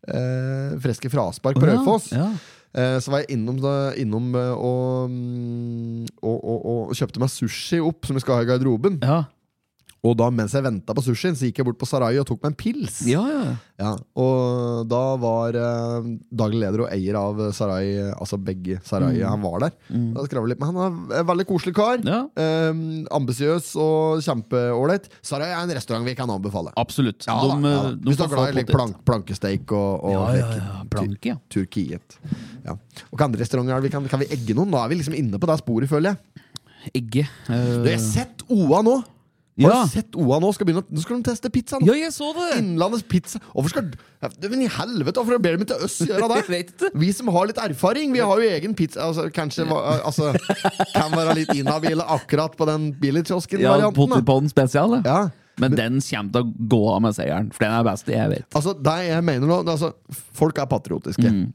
Speaker 1: eh, Freske fraspark på
Speaker 2: Å ja,
Speaker 1: Raufoss.
Speaker 2: ja.
Speaker 1: Eh, Så var jeg innom, da, innom eh, og, mm, og, og, og kjøpte meg sushi opp, som vi skal ha i garderoben.
Speaker 2: Ja.
Speaker 1: Og da mens jeg venta på sushien, Så gikk jeg bort på Sarai og tok meg en pils.
Speaker 2: ja, ja.
Speaker 1: Ja, og da var eh, daglig leder og eier av Sarai, eh, altså begge Sarai, han var der. Da skrev jeg litt, Men han er en veldig koselig kar.
Speaker 2: Mm. Ja.
Speaker 1: Eh, Ambisiøs og kjempeålreit. Sarai er en restaurant vi kan anbefale.
Speaker 2: Absolutt.
Speaker 1: Ja, da,
Speaker 2: de, eh,
Speaker 1: ja, da.
Speaker 2: de
Speaker 1: Hvis du
Speaker 2: får
Speaker 1: er glad
Speaker 2: få
Speaker 1: i litt
Speaker 2: potet.
Speaker 1: plank, plankesteik og, og
Speaker 2: Ja, ja,
Speaker 1: vekk-
Speaker 2: ja. Planke, ja.
Speaker 1: Tur- Turkiet. Ja. Og hva andre restauranter er det vi kan, kan vi egge noen? Da er vi liksom inne på det sporet, føler jeg.
Speaker 2: Egge.
Speaker 1: Du, jeg har sett OA nå! Har
Speaker 2: Eh. Ja.
Speaker 1: du sett OA Nå skal begynne, å- nå skal de teste pizzaen!
Speaker 2: ja, jeg så det!
Speaker 1: Innlandets pizza Hvorfor skal du, Men i helvete, hvorfor ber de til oss gjøre det?
Speaker 2: Jeg vet ikke.
Speaker 1: Vi som har litt erfaring, vi har jo egen pizza altså, Kanskje va- altså, kan være litt inhabile akkurat på den
Speaker 2: Ja,
Speaker 1: billigkiosken-varianten. da.
Speaker 2: Potipodden spesial, ja.
Speaker 1: Ja.
Speaker 2: Men den kommer til å gå av med seieren, for den er best jeg vet.
Speaker 1: Altså, det jeg mener nå det er altså, Folk er patriotiske.
Speaker 2: Mm.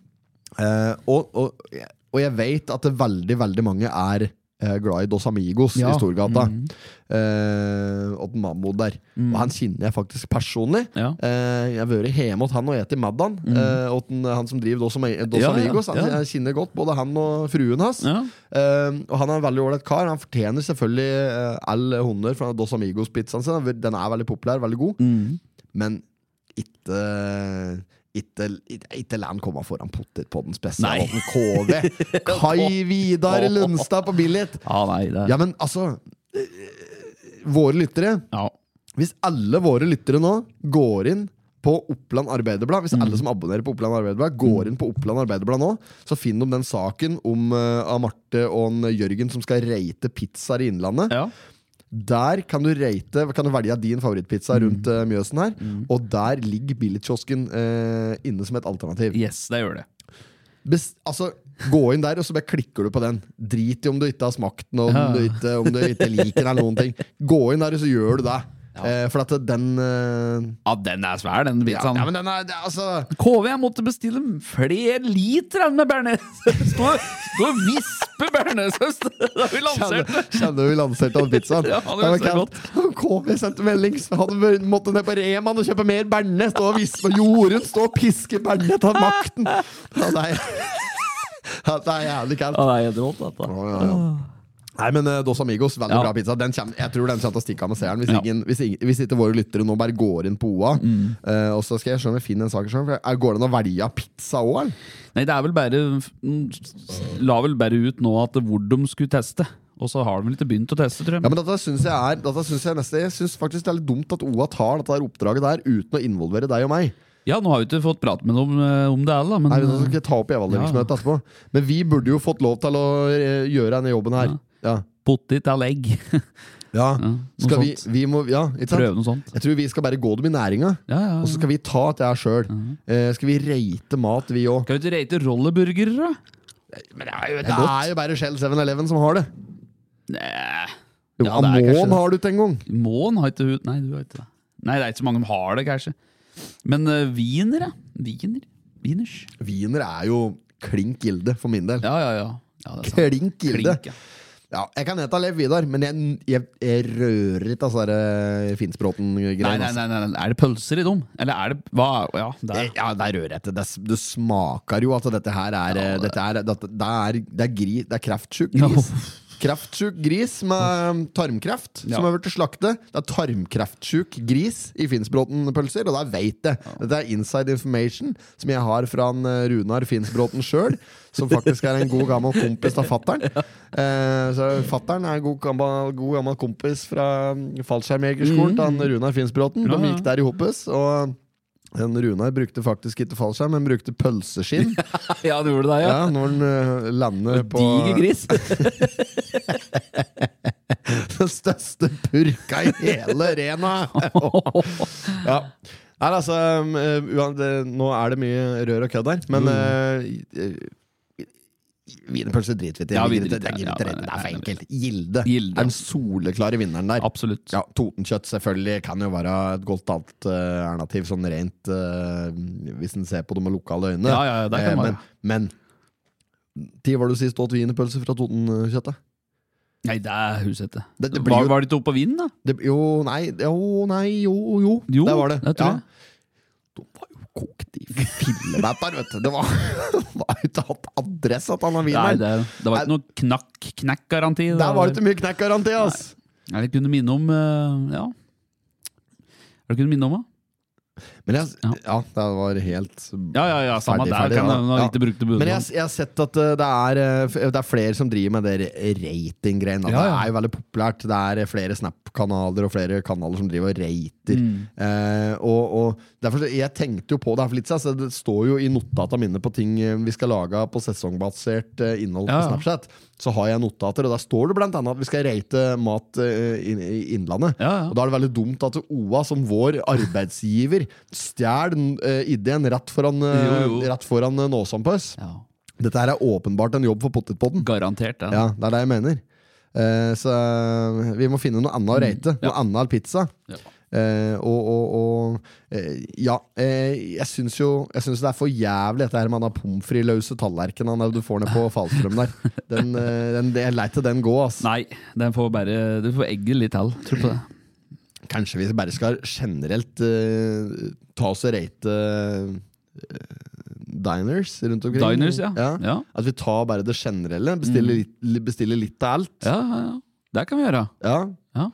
Speaker 1: Eh, og, og, og jeg vet at det veldig, veldig mange er eh, glad i Dos Amigos
Speaker 2: Ja. Mm.
Speaker 1: i Storgata. Eh, og den Mammo der. Og han kjenner jeg faktisk personlig.
Speaker 2: Ja.
Speaker 1: Eh, jeg har vært hjemme hos han og spist middag. Eh, og den, han som driver Dos, Ami- Dos
Speaker 2: Mm. Ja, ja,
Speaker 1: Amigos. Han,
Speaker 2: ja.
Speaker 1: Jeg kjenner godt både han og fruen hans.
Speaker 2: Ja.
Speaker 1: Eh, og han er en veldig ålreit kar. Han fortjener selvfølgelig eh, all honnør fra Dos Amigos-pizzaen sin. Den er veldig populær, veldig god. Men ikke ikke, ikke, ikke la han komme foran potetpodden
Speaker 2: Nei.
Speaker 1: spesialen KV. Kai Vidar Lundstad på Billit.
Speaker 2: Ja, nei, det
Speaker 1: Ja, men altså eh, Våre lyttere
Speaker 2: Ja.
Speaker 1: Hvis alle våre lyttere nå går inn på Oppland Arbeiderblad
Speaker 2: Mm.
Speaker 1: Hvis alle som abonnerer på Oppland Arbeiderblad, går inn på Oppland Arbeiderblad nå, så finner de den saken om eh, av Marte og en Jørgen som skal reite pizzaer i Innlandet.
Speaker 2: ja.
Speaker 1: Der kan du rate Kan du velge din favorittpizza
Speaker 2: Mm.
Speaker 1: rundt eh, Mjøsen her. Og der ligger billigkiosken eh, inne som et alternativ.
Speaker 2: Yes, det gjør det.
Speaker 1: Bes- altså, gå inn der, og så bare klikker du på den. Drit i om du ikke har smakt den, og om,
Speaker 2: Ja.
Speaker 1: du ikke, om du ikke liker den. eller noen ting Gå inn der, og så gjør du det. Eh, for at den eh,
Speaker 2: Ja, den er svær, den
Speaker 1: ja,
Speaker 2: pizzaen.
Speaker 1: ja, men den er det er altså
Speaker 2: KV jeg måtte bestille flere liter enn med bearnéssaus. Stå stå og vispe bearnéssaus da vi lanserte!
Speaker 1: Kjenner vi lanserte all pizzaen?
Speaker 2: Ja, det var så
Speaker 1: Kent. KV sendte melding, så han bør- måtte ned på Reman og kjøpe mer berne. Stå og vispe på jorden, stå og piske berne, ta makten! Ja, det, er, ja, det er jævlig kaldt.
Speaker 2: det er helt rått, dette.
Speaker 1: Ja, ja, ja. Nei, men eh, Dos Amigos, veldig
Speaker 2: Ja.
Speaker 1: bra pizza. Den kjem, jeg tror den kommer til å stikke av med seeren. Hvis,
Speaker 2: Ja.
Speaker 1: ingen, hvis, ingen, hvis ikke våre lyttere nå bare går inn på OA. eh, og så skal jeg se om jeg finner en sak sjøl. Går det an å velge pizza òg?
Speaker 2: Nei, det er vel bare La vel bare ut nå at hvor de skulle teste. Og så har de vel ikke begynt å teste, tror jeg.
Speaker 1: Ja, men dette synes jeg er Dette synes jeg nesten Jeg synes faktisk det er litt dumt at OA tar dette her oppdraget der uten å involvere deg og meg.
Speaker 2: Ja, nå har vi ikke fått prate med dem eh, om det heller, men altså-
Speaker 1: Nei, vi skal ikke ta opp i evalueringsmøtet etterpå. Men vi burde jo fått lov til å eh, gjøre denne jobben her. Ja.
Speaker 2: potet eller egg.
Speaker 1: ja.
Speaker 2: noe
Speaker 1: Skal vi,
Speaker 2: sånt.
Speaker 1: vi må, ja, ikke sant?
Speaker 2: Prøve noe sånt.
Speaker 1: Jeg tror vi skal bare gå dem i næringa,
Speaker 2: Ja, ja.
Speaker 1: og så skal vi ta dette her sjøl. Eh, skal vi rate mat, vi òg?
Speaker 2: Skal vi ikke rate rolleburgere, da?
Speaker 1: Det er jo bare Shell 7-Eleven som har det.
Speaker 2: Nei.
Speaker 1: Jo,
Speaker 2: Ja, det er kanskje
Speaker 1: Amon
Speaker 2: det.
Speaker 1: har du ikke engang.
Speaker 2: Mån har ikke hud Nei, du har ikke det. Nei, det er ikke så mange som har det, kanskje. Men uh, wiener, ja. Wiener. Wieners.
Speaker 1: Wiener er jo klink gilde, for min del.
Speaker 2: Ja, ja, ja. ja det er sant.
Speaker 1: altså. Klink gilde.
Speaker 2: Klink, ja.
Speaker 1: Ja, jeg kan hete Lev Vidar, men jeg, jeg, jeg rører ikke altså, det
Speaker 2: Nei,
Speaker 1: Finnspråten-greiene.
Speaker 2: nei,
Speaker 1: altså.
Speaker 2: nei, nei, nei. Er det pølser i dem? Eller er det Hva? Ja, det er
Speaker 1: Ja, der rører jeg ikke. Det, det smaker jo at dette her er eh, Dette er, dette, det er, det er, gri, det er kreftsjuk gris. Kreftsjuk gris med um, tarmkreft
Speaker 2: Ja.
Speaker 1: som har blitt slaktet. Det er tarmkreftsjuk gris i Finsbråten-pølser, og der veit jeg. Dette er inside information som jeg har fra en eh, Runar Finsbråten sjøl, som faktisk er en god gammel kompis av fattern. Eh, så fattern er en god gammel, god gammel kompis fra mm, fallskjermjegerskolen til han Runar Finsbråten.
Speaker 2: Mm. Ja,
Speaker 1: De
Speaker 2: ja.
Speaker 1: gikk der i hoppes. og en Runar brukte faktisk ikke fallskjerm, men brukte pølseskinn
Speaker 2: Ja, du gjorde det,
Speaker 1: ja, når han eh, lander på
Speaker 2: Diger gris.
Speaker 1: den største purka i hele Rena. ja. Nei, altså, um, uan- det- nå er det mye rør og kødd her,
Speaker 2: Mm.
Speaker 1: men uh, eh, eh, Wienerpølse driter vi til.
Speaker 2: Ja,
Speaker 1: Jeg
Speaker 2: vi
Speaker 1: gidder ikke-
Speaker 2: driter-
Speaker 1: jeg gidder
Speaker 2: ja,
Speaker 1: ikke rette.
Speaker 2: nei,
Speaker 1: Det er for
Speaker 2: nei,
Speaker 1: enkelt. Gilde
Speaker 2: Gilde.
Speaker 1: er den soleklare vinneren der.
Speaker 2: Absolutt.
Speaker 1: Ja, Totenkjøtt selvfølgelig kan jo være et godt alternativ, sånn rent eh, hvis en ser på det med lukkede øyne.
Speaker 2: Ja, ja, ja, det kan
Speaker 1: Eh,
Speaker 2: være.
Speaker 1: men, men Tid var det du sist åt wienerpølse fra Totenkjøttet?
Speaker 2: Nei, det er Husete.
Speaker 1: Det- det blir
Speaker 2: Var,
Speaker 1: jo-
Speaker 2: var det ikke oppe på vinden, da?
Speaker 1: Det, jo, nei, jo, nei, jo, jo.
Speaker 2: Jo,
Speaker 1: det var det.
Speaker 2: det tror jeg.
Speaker 1: De var jo kokt i fillebæter, vet du. Det var, det var jo ikke hatt adresse at han har
Speaker 2: Nei,
Speaker 1: wiener.
Speaker 2: det, det var ikke noe knakk, knekk-garanti. det
Speaker 1: Der var det ikke mye knekkgaranti, ass!
Speaker 2: Er det kunne minne om eh, Ja. Er det kunne minne om, da?
Speaker 1: Men jeg, ja, det var helt
Speaker 2: Ja, ja, ja, samme
Speaker 1: ferdig,
Speaker 2: der,
Speaker 1: ferdig,
Speaker 2: kan
Speaker 1: ja.
Speaker 2: jeg- nå har jeg ikke brukt det på
Speaker 1: Men jeg,
Speaker 2: utenlands.
Speaker 1: jeg har sett at eh, det er, eh, f- det er flere som driver med det rating-greien. da.
Speaker 2: Ja,
Speaker 1: Det
Speaker 2: ja.
Speaker 1: er jo veldig populært. Det er eh, flere Snap-kanaler og flere kanaler som driver og rater.
Speaker 2: Mm.
Speaker 1: Eh, og, og derfor, så- jeg tenkte jo på det her for litt siden. så Det står jo i notata mine på ting eh, vi skal lage på sesongbasert eh, innhold
Speaker 2: Ja,
Speaker 1: på
Speaker 2: ja.
Speaker 1: Snapchat. Så har jeg notater, og der står det blant annet at vi skal rate mat eh, inn- i Innlandet.
Speaker 2: Ja, ja.
Speaker 1: Og da er det veldig dumt at OA som vår arbeidsgiver stjal eh, ideen rett foran, eh,
Speaker 2: Jo, jo.
Speaker 1: rett foran eh, Nåsampøs.
Speaker 2: Ja,
Speaker 1: Dette her er åpenbart en jobb for Pottetpodden.
Speaker 2: garantert, det.
Speaker 1: Ja, det er det jeg mener. Eh, så eh, vi må finne noe annet å rate. Noe annet enn pizza.
Speaker 2: Ja.
Speaker 1: Eh, og og, og eh, ja, eh, jeg syns jo Jeg synes det er for jævlig dette her med den pommes frites-løse tallerkenen du får ned på Falstrøm der. Den, eh, den, jeg lar ikke den gå, ass.
Speaker 2: Nei, den får bare Du får egget litt til. Tror på det.
Speaker 1: Kanskje vi bare skal generelt eh, ta oss og rate eh, diners rundt omkring?
Speaker 2: Diners, ja. Ja.
Speaker 1: At vi tar bare det generelle. Bestiller, litt, bestiller litt av alt.
Speaker 2: Mm. Ja, ja, ja. Det kan vi gjøre.
Speaker 1: Ja.
Speaker 2: Ja.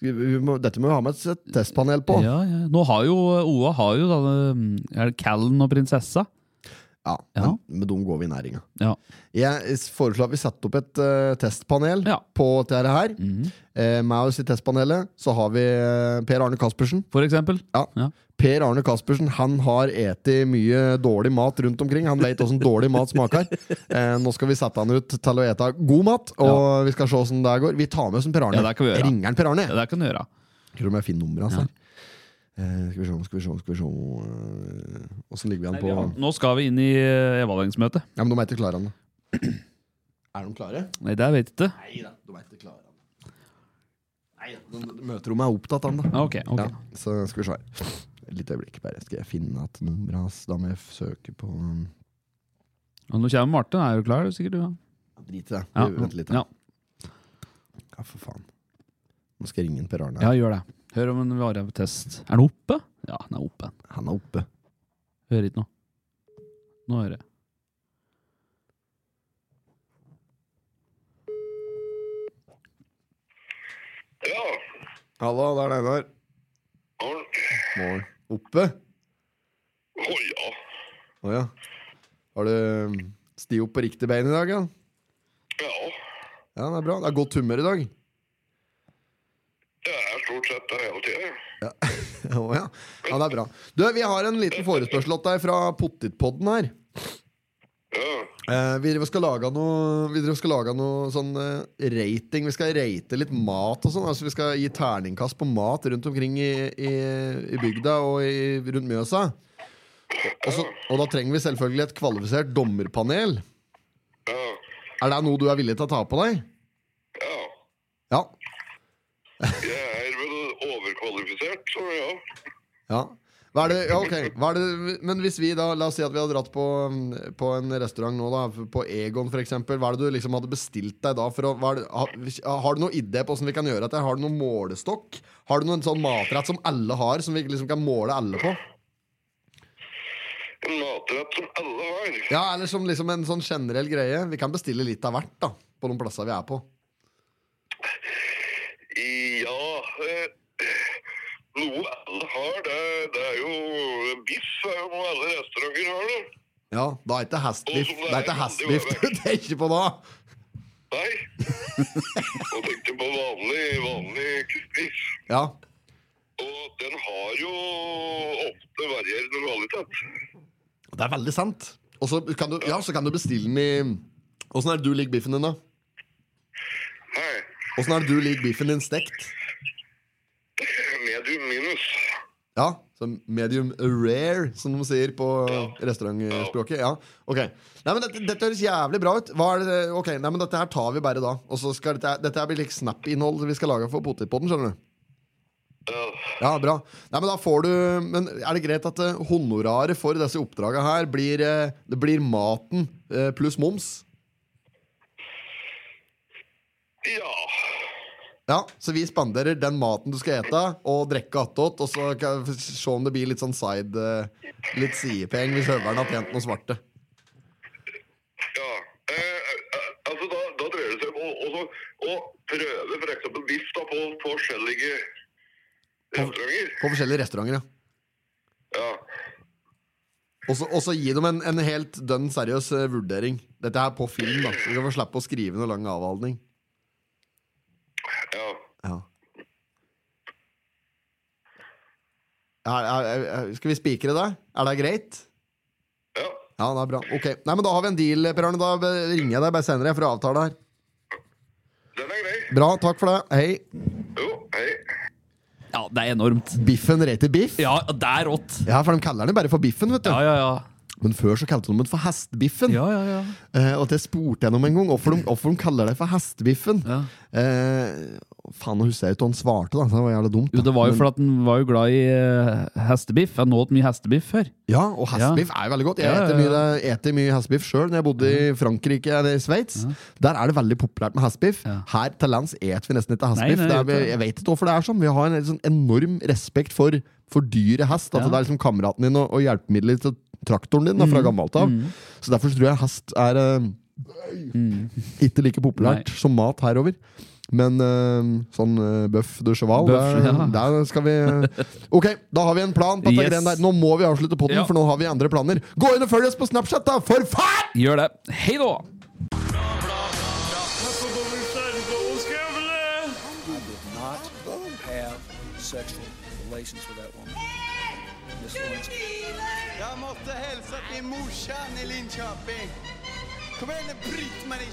Speaker 1: Vi, vi må, dette må vi ha med et testpanel på.
Speaker 2: Ja, ja. Nå har jo OA har jo da, det, mm, Er det Callen og prinsessa?
Speaker 1: Ja,
Speaker 2: Ja.
Speaker 1: Men, men de går vi i næringa.
Speaker 2: Ja.
Speaker 1: Jeg s- foreslår at vi setter opp et eh, testpanel
Speaker 2: Ja. Mhm.
Speaker 1: på dette her. Eh, med oss i testpanelet så har vi eh, Per Arne Caspersen.
Speaker 2: For eksempel.
Speaker 1: Ja.
Speaker 2: Ja.
Speaker 1: Per Arne Caspersen han har eti mye dårlig mat rundt omkring. Han vet åssen dårlig mat smaker. Eh, nå skal vi sette han ut til å ete god mat, og vi skal se åssen det går. Vi tar med oss en Per Arne.
Speaker 2: Ja, det kan vi gjøre.
Speaker 1: Jeg ringer han Per Arne.
Speaker 2: Ja, det kan du gjøre.
Speaker 1: Tror om jeg finner nummeret hans. her. Eh, skal vi se, skal vi se, skal vi se Åssen ligger vi an på
Speaker 2: Nå skal vi inn i eh, evalueringsmøtet.
Speaker 1: Ja, men De er ikke klare ennå. Er de klare?
Speaker 2: Nei, det vet jeg ikke.
Speaker 1: Nei da, de er ikke klare ennå. Nei da, de- de- Møterommet er opptatt ennå.
Speaker 2: Ah, Ok, ok.
Speaker 1: Ja, så skal vi se her. Et lite øyeblikk, bare. Skal jeg finne at nummeret hans Da må jeg f- søke på um,
Speaker 2: Og nå kommer Marte. Er du klar? Sikkert du ja.
Speaker 1: ja, Drit i det.
Speaker 2: Ja.
Speaker 1: Vi venter litt.
Speaker 2: Ja.
Speaker 1: Ja. for faen. Nå skal jeg ringe en Per Arne.
Speaker 2: ja, gjør det. Hør om den varer på test. Er den oppe? Ja, den er oppe.
Speaker 1: Han er oppe.
Speaker 2: Hører ikke noe. Nå hører jeg.
Speaker 4: Ja,
Speaker 1: Hallo, det er Einar.
Speaker 4: har
Speaker 1: Morgen. Oppe?
Speaker 4: Å ja.
Speaker 1: Å ja. Har du um, sti opp på riktig bein i dag, ja?
Speaker 4: Ja,
Speaker 1: Ja, det er bra. Det er godt humør i dag.
Speaker 4: det er stort sett det hele tida.
Speaker 1: Å ja. ja, det er bra. Du, vi har en liten forespørsel til deg fra Pottitpodden her.
Speaker 4: Ja.
Speaker 1: Eh, vi driver og skal lage noe, vi driver og skal lage noe sånn eh, rating. Vi skal rate litt mat og sånn. Altså, vi skal gi terningkast på mat rundt omkring i, i, i bygda og i, rundt Mjøsa. Og, så, og da trenger vi selvfølgelig et kvalifisert dommerpanel.
Speaker 4: Ja.
Speaker 1: Er det noe du er villig til å ta på deg?
Speaker 4: ja.
Speaker 1: Ja.
Speaker 4: Jeg er vel overkvalifisert, så ja.
Speaker 1: ja. Hva er det, ja, ok Hva er det, Men hvis vi da, la oss si at vi hadde dratt på, mm, på en restaurant nå, da på Egon f.eks. Hva er det du liksom hadde bestilt deg da? For å, hva er det, har, har du noen idé på hvordan vi kan gjøre dette? Har du noen målestokk? Har du noen sånn matrett som alle har, som vi liksom kan måle alle på?
Speaker 4: En matrett som alle har.
Speaker 1: Ja, Eller som liksom en sånn generell greie? Vi kan bestille litt av hvert da på noen plasser vi er på.
Speaker 4: Ja, eh, noe alle har, det, det er jo Biff er jo noe alle restauranter har, det.
Speaker 1: Ja, Da er ikke hestbiff Det er ikke hestbiff du tenker på da!
Speaker 4: Nei. Og tenkte på vanlig, vanlig biff.
Speaker 1: Ja,
Speaker 4: Og den har jo ofte varierende kvalitet.
Speaker 1: Det er veldig sant. Og så kan du, ja, så kan du bestille den i Åssen er det du liker biffen din, da?
Speaker 4: Hei.
Speaker 1: Åssen er det du liker biffen din stekt?
Speaker 4: Medium minus.
Speaker 1: Ja, så medium rare, som de sier på restaurantspråket. Ja, ok Nei, men dette, dette høres jævlig bra ut. Hva er det, ok, nei, men Dette her tar vi bare da. Og så skal Dette, dette her blir litt snap-innhold vi skal lage for potetpodden. skjønner du?
Speaker 4: Ja.
Speaker 1: Ja, bra. Nei, Men da får du Men er det greit at eh, honoraret for disse oppdraga her blir, eh, det blir maten eh, pluss moms?
Speaker 4: ja.
Speaker 1: Ja, Så vi spanderer den maten du skal ete, og drikke attåt, og så kan vi se om det blir litt sånn side eh, Litt sidepeng hvis høveren har tjent noe svarte.
Speaker 4: ja. Eh, eh, altså, da, da dreier det seg om å- også å prøve for eksempel biff da, på på forskjellige restauranter.
Speaker 1: På forskjellige restauranter, ja.
Speaker 4: Ja.
Speaker 1: Og så- Og så gi dem en, en helt dønn seriøs eh, vurdering. Dette her på film, da. Så vi kan få slippe å skrive noe lang avhandling.
Speaker 4: ja.
Speaker 1: Ja. Er, er, er, er- skal vi spikre det? Er det greit?
Speaker 4: Ja.
Speaker 1: Ja, det er bra. Ok, Nei, men Da har vi en deal, Per Arne. Da eh, ringer jeg deg bare senere for å avtale det her.
Speaker 4: Den er grei.
Speaker 1: Bra, takk for det. Hei.
Speaker 4: Jo, hei.
Speaker 2: Ja, det er enormt.
Speaker 1: Biffen rater biff.
Speaker 2: Ja, det er rått.
Speaker 1: Ja, for de kaller den jo bare for biffen, vet du.
Speaker 2: Ja, ja, ja.
Speaker 1: Men før så kalte de den for hestbiffen.
Speaker 2: Ja, ja, ja.
Speaker 1: Eh, og det spurte jeg dem om en gang, hvorfor de, hvorfor de kaller det for hestbiffen.
Speaker 2: Ja.
Speaker 1: Eh, faen, nå husker jeg ikke hva han svarte, da. Så det var jævla dumt. da.
Speaker 2: Jo, det var jo
Speaker 1: Men-
Speaker 2: fordi den var jo glad i eh, hestebiff. Jeg nåt mye hestebiff før.
Speaker 1: Ja, og hestbiff er jo veldig godt. Jeg
Speaker 2: Ja, ja,
Speaker 1: eter
Speaker 2: ja.
Speaker 1: mye, eter mye hestbiff sjøl når jeg bodde i Frankrike eller i Sveits. Der er det veldig populært med hestbiff.
Speaker 2: Ja.
Speaker 1: Her til lands eter vi nesten ikke hestbiff. det
Speaker 2: Nei, nei,
Speaker 1: er,
Speaker 2: jeg vet det.
Speaker 1: jeg vet ikke hvorfor det er sånn. Vi har en sånn enorm respekt for, for dyre hest. At
Speaker 2: Ja. Mm.
Speaker 1: det er liksom kameraten din og, og hjelpemiddelet til traktoren din da, fra gammelt av. Så derfor så tror jeg hest er eh, ikke like populært
Speaker 2: Mm. Nei.
Speaker 1: som mat herover. Men eh, sånn uh, bøff de cheval,
Speaker 2: Bøff,
Speaker 1: der,
Speaker 2: ja.
Speaker 1: der skal vi Ok, da har vi en plan. på
Speaker 2: Yes.
Speaker 1: yes. der. Nå må vi avslutte podden,
Speaker 2: Ja.
Speaker 1: for nå har vi andre planer. Gå inn og følg oss på Snapchat, da! For faen!
Speaker 2: Gjør det. Hei da!
Speaker 3: I did not have sexual relations with that woman. Miss Lewinsky.
Speaker 5: Jag måste hälsa till morsan i Linköping. Kom igen nu Britt-Marie,